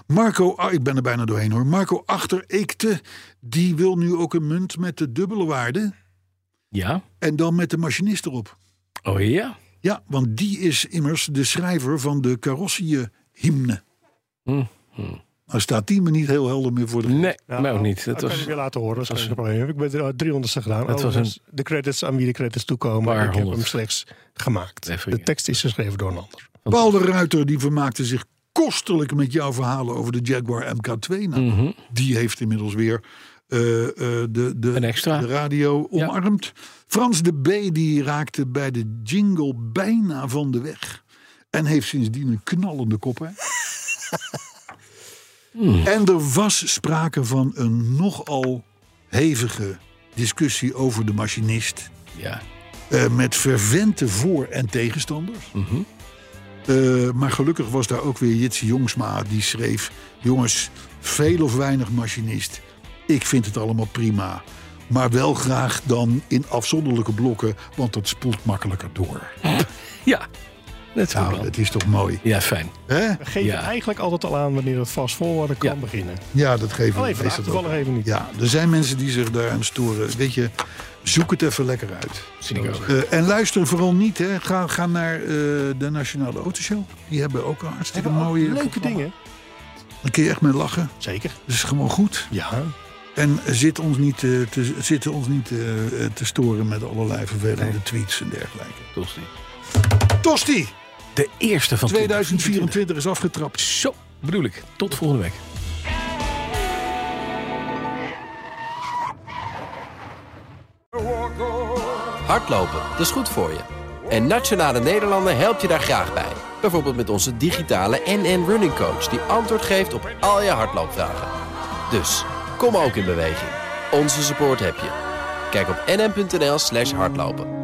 [SPEAKER 2] Marco, ah, ik ben er bijna doorheen hoor. Marco Achter Eekte, die wil nu ook een munt met de dubbele waarde.
[SPEAKER 3] Ja.
[SPEAKER 2] En dan met de machinist erop.
[SPEAKER 3] Oh ja.
[SPEAKER 2] Ja, want die is immers de schrijver van de carrossiehymne. Nou staat die me niet heel helder meer voor de
[SPEAKER 3] Nee,
[SPEAKER 4] Nou,
[SPEAKER 3] nou niet. Dat
[SPEAKER 4] kan ik
[SPEAKER 3] was
[SPEAKER 4] weer laten horen. Dat is geen probleem. Heb Ik ben er 300 gedaan.
[SPEAKER 3] Dat was
[SPEAKER 4] Overigens, De credits aan wie de credits toekomen.
[SPEAKER 3] Paar
[SPEAKER 4] Ik heb
[SPEAKER 3] honderd.
[SPEAKER 4] hem slechts gemaakt.
[SPEAKER 3] Even,
[SPEAKER 4] De
[SPEAKER 3] ja.
[SPEAKER 4] tekst is geschreven door een ander.
[SPEAKER 2] Paul de Ruiter die vermaakte zich kostelijk met jouw verhalen over de Jaguar MK2. Nou,
[SPEAKER 3] Mhm.
[SPEAKER 2] Die heeft inmiddels weer eh, eh, de, de,
[SPEAKER 3] Een extra.
[SPEAKER 2] de radio
[SPEAKER 3] Ja.
[SPEAKER 2] omarmd. Frans de B die raakte bij de jingle bijna van de weg. En heeft sindsdien een knallende kop. Hè?
[SPEAKER 3] Hmm.
[SPEAKER 2] En er was sprake van een nogal hevige discussie over de machinist.
[SPEAKER 3] ja.
[SPEAKER 2] Eh, met vervente voor- en tegenstanders. Eh, maar gelukkig was daar ook weer Jitse Jongsma die schreef: Jongens, veel of weinig machinist. Ik vind het allemaal prima. Maar wel graag dan in afzonderlijke blokken, want dat spoelt makkelijker door.
[SPEAKER 3] Ja. Net zo.
[SPEAKER 2] Nou,
[SPEAKER 3] wel.
[SPEAKER 2] dat is toch mooi?
[SPEAKER 3] Ja, fijn.
[SPEAKER 2] Hè?
[SPEAKER 4] Geef
[SPEAKER 3] Ja.
[SPEAKER 4] eigenlijk altijd al aan wanneer het vast voorwaarden kan
[SPEAKER 3] Ja.
[SPEAKER 4] beginnen.
[SPEAKER 2] Ja, dat geven we
[SPEAKER 4] Alleen vandaag
[SPEAKER 2] meestal ook.
[SPEAKER 4] toevallig even niet.
[SPEAKER 2] Ja, er zijn mensen die zich daaraan storen. Weet je, zoek het even lekker uit.
[SPEAKER 3] Zie ik ook.
[SPEAKER 2] Eh, en luister vooral niet, hè. Ga, ga naar eh, de Nationale Autoshow. Die hebben ook een hartstikke mooie...
[SPEAKER 4] Leuke dingen.
[SPEAKER 2] Daar kun je echt mee lachen.
[SPEAKER 4] Zeker.
[SPEAKER 2] Dat is gewoon goed.
[SPEAKER 4] Ja.
[SPEAKER 2] En zit ons niet, eh, te, zitten ons niet eh, eh, te storen met allerlei vervelende tweets en dergelijke.
[SPEAKER 3] Tosti.
[SPEAKER 2] Tosti!
[SPEAKER 3] De eerste van
[SPEAKER 2] 2024 is afgetrapt.
[SPEAKER 3] Zo, bedoel ik. Tot volgende week.
[SPEAKER 7] Hardlopen, dat is goed voor je. En Nationale Nederlanden helpt je daar graag bij. Bijvoorbeeld met onze digitale NN Running Coach... die antwoord geeft op al je hardloopvragen. Dus, kom ook in beweging. Onze support heb je. Kijk op nn.nl slash hardlopen.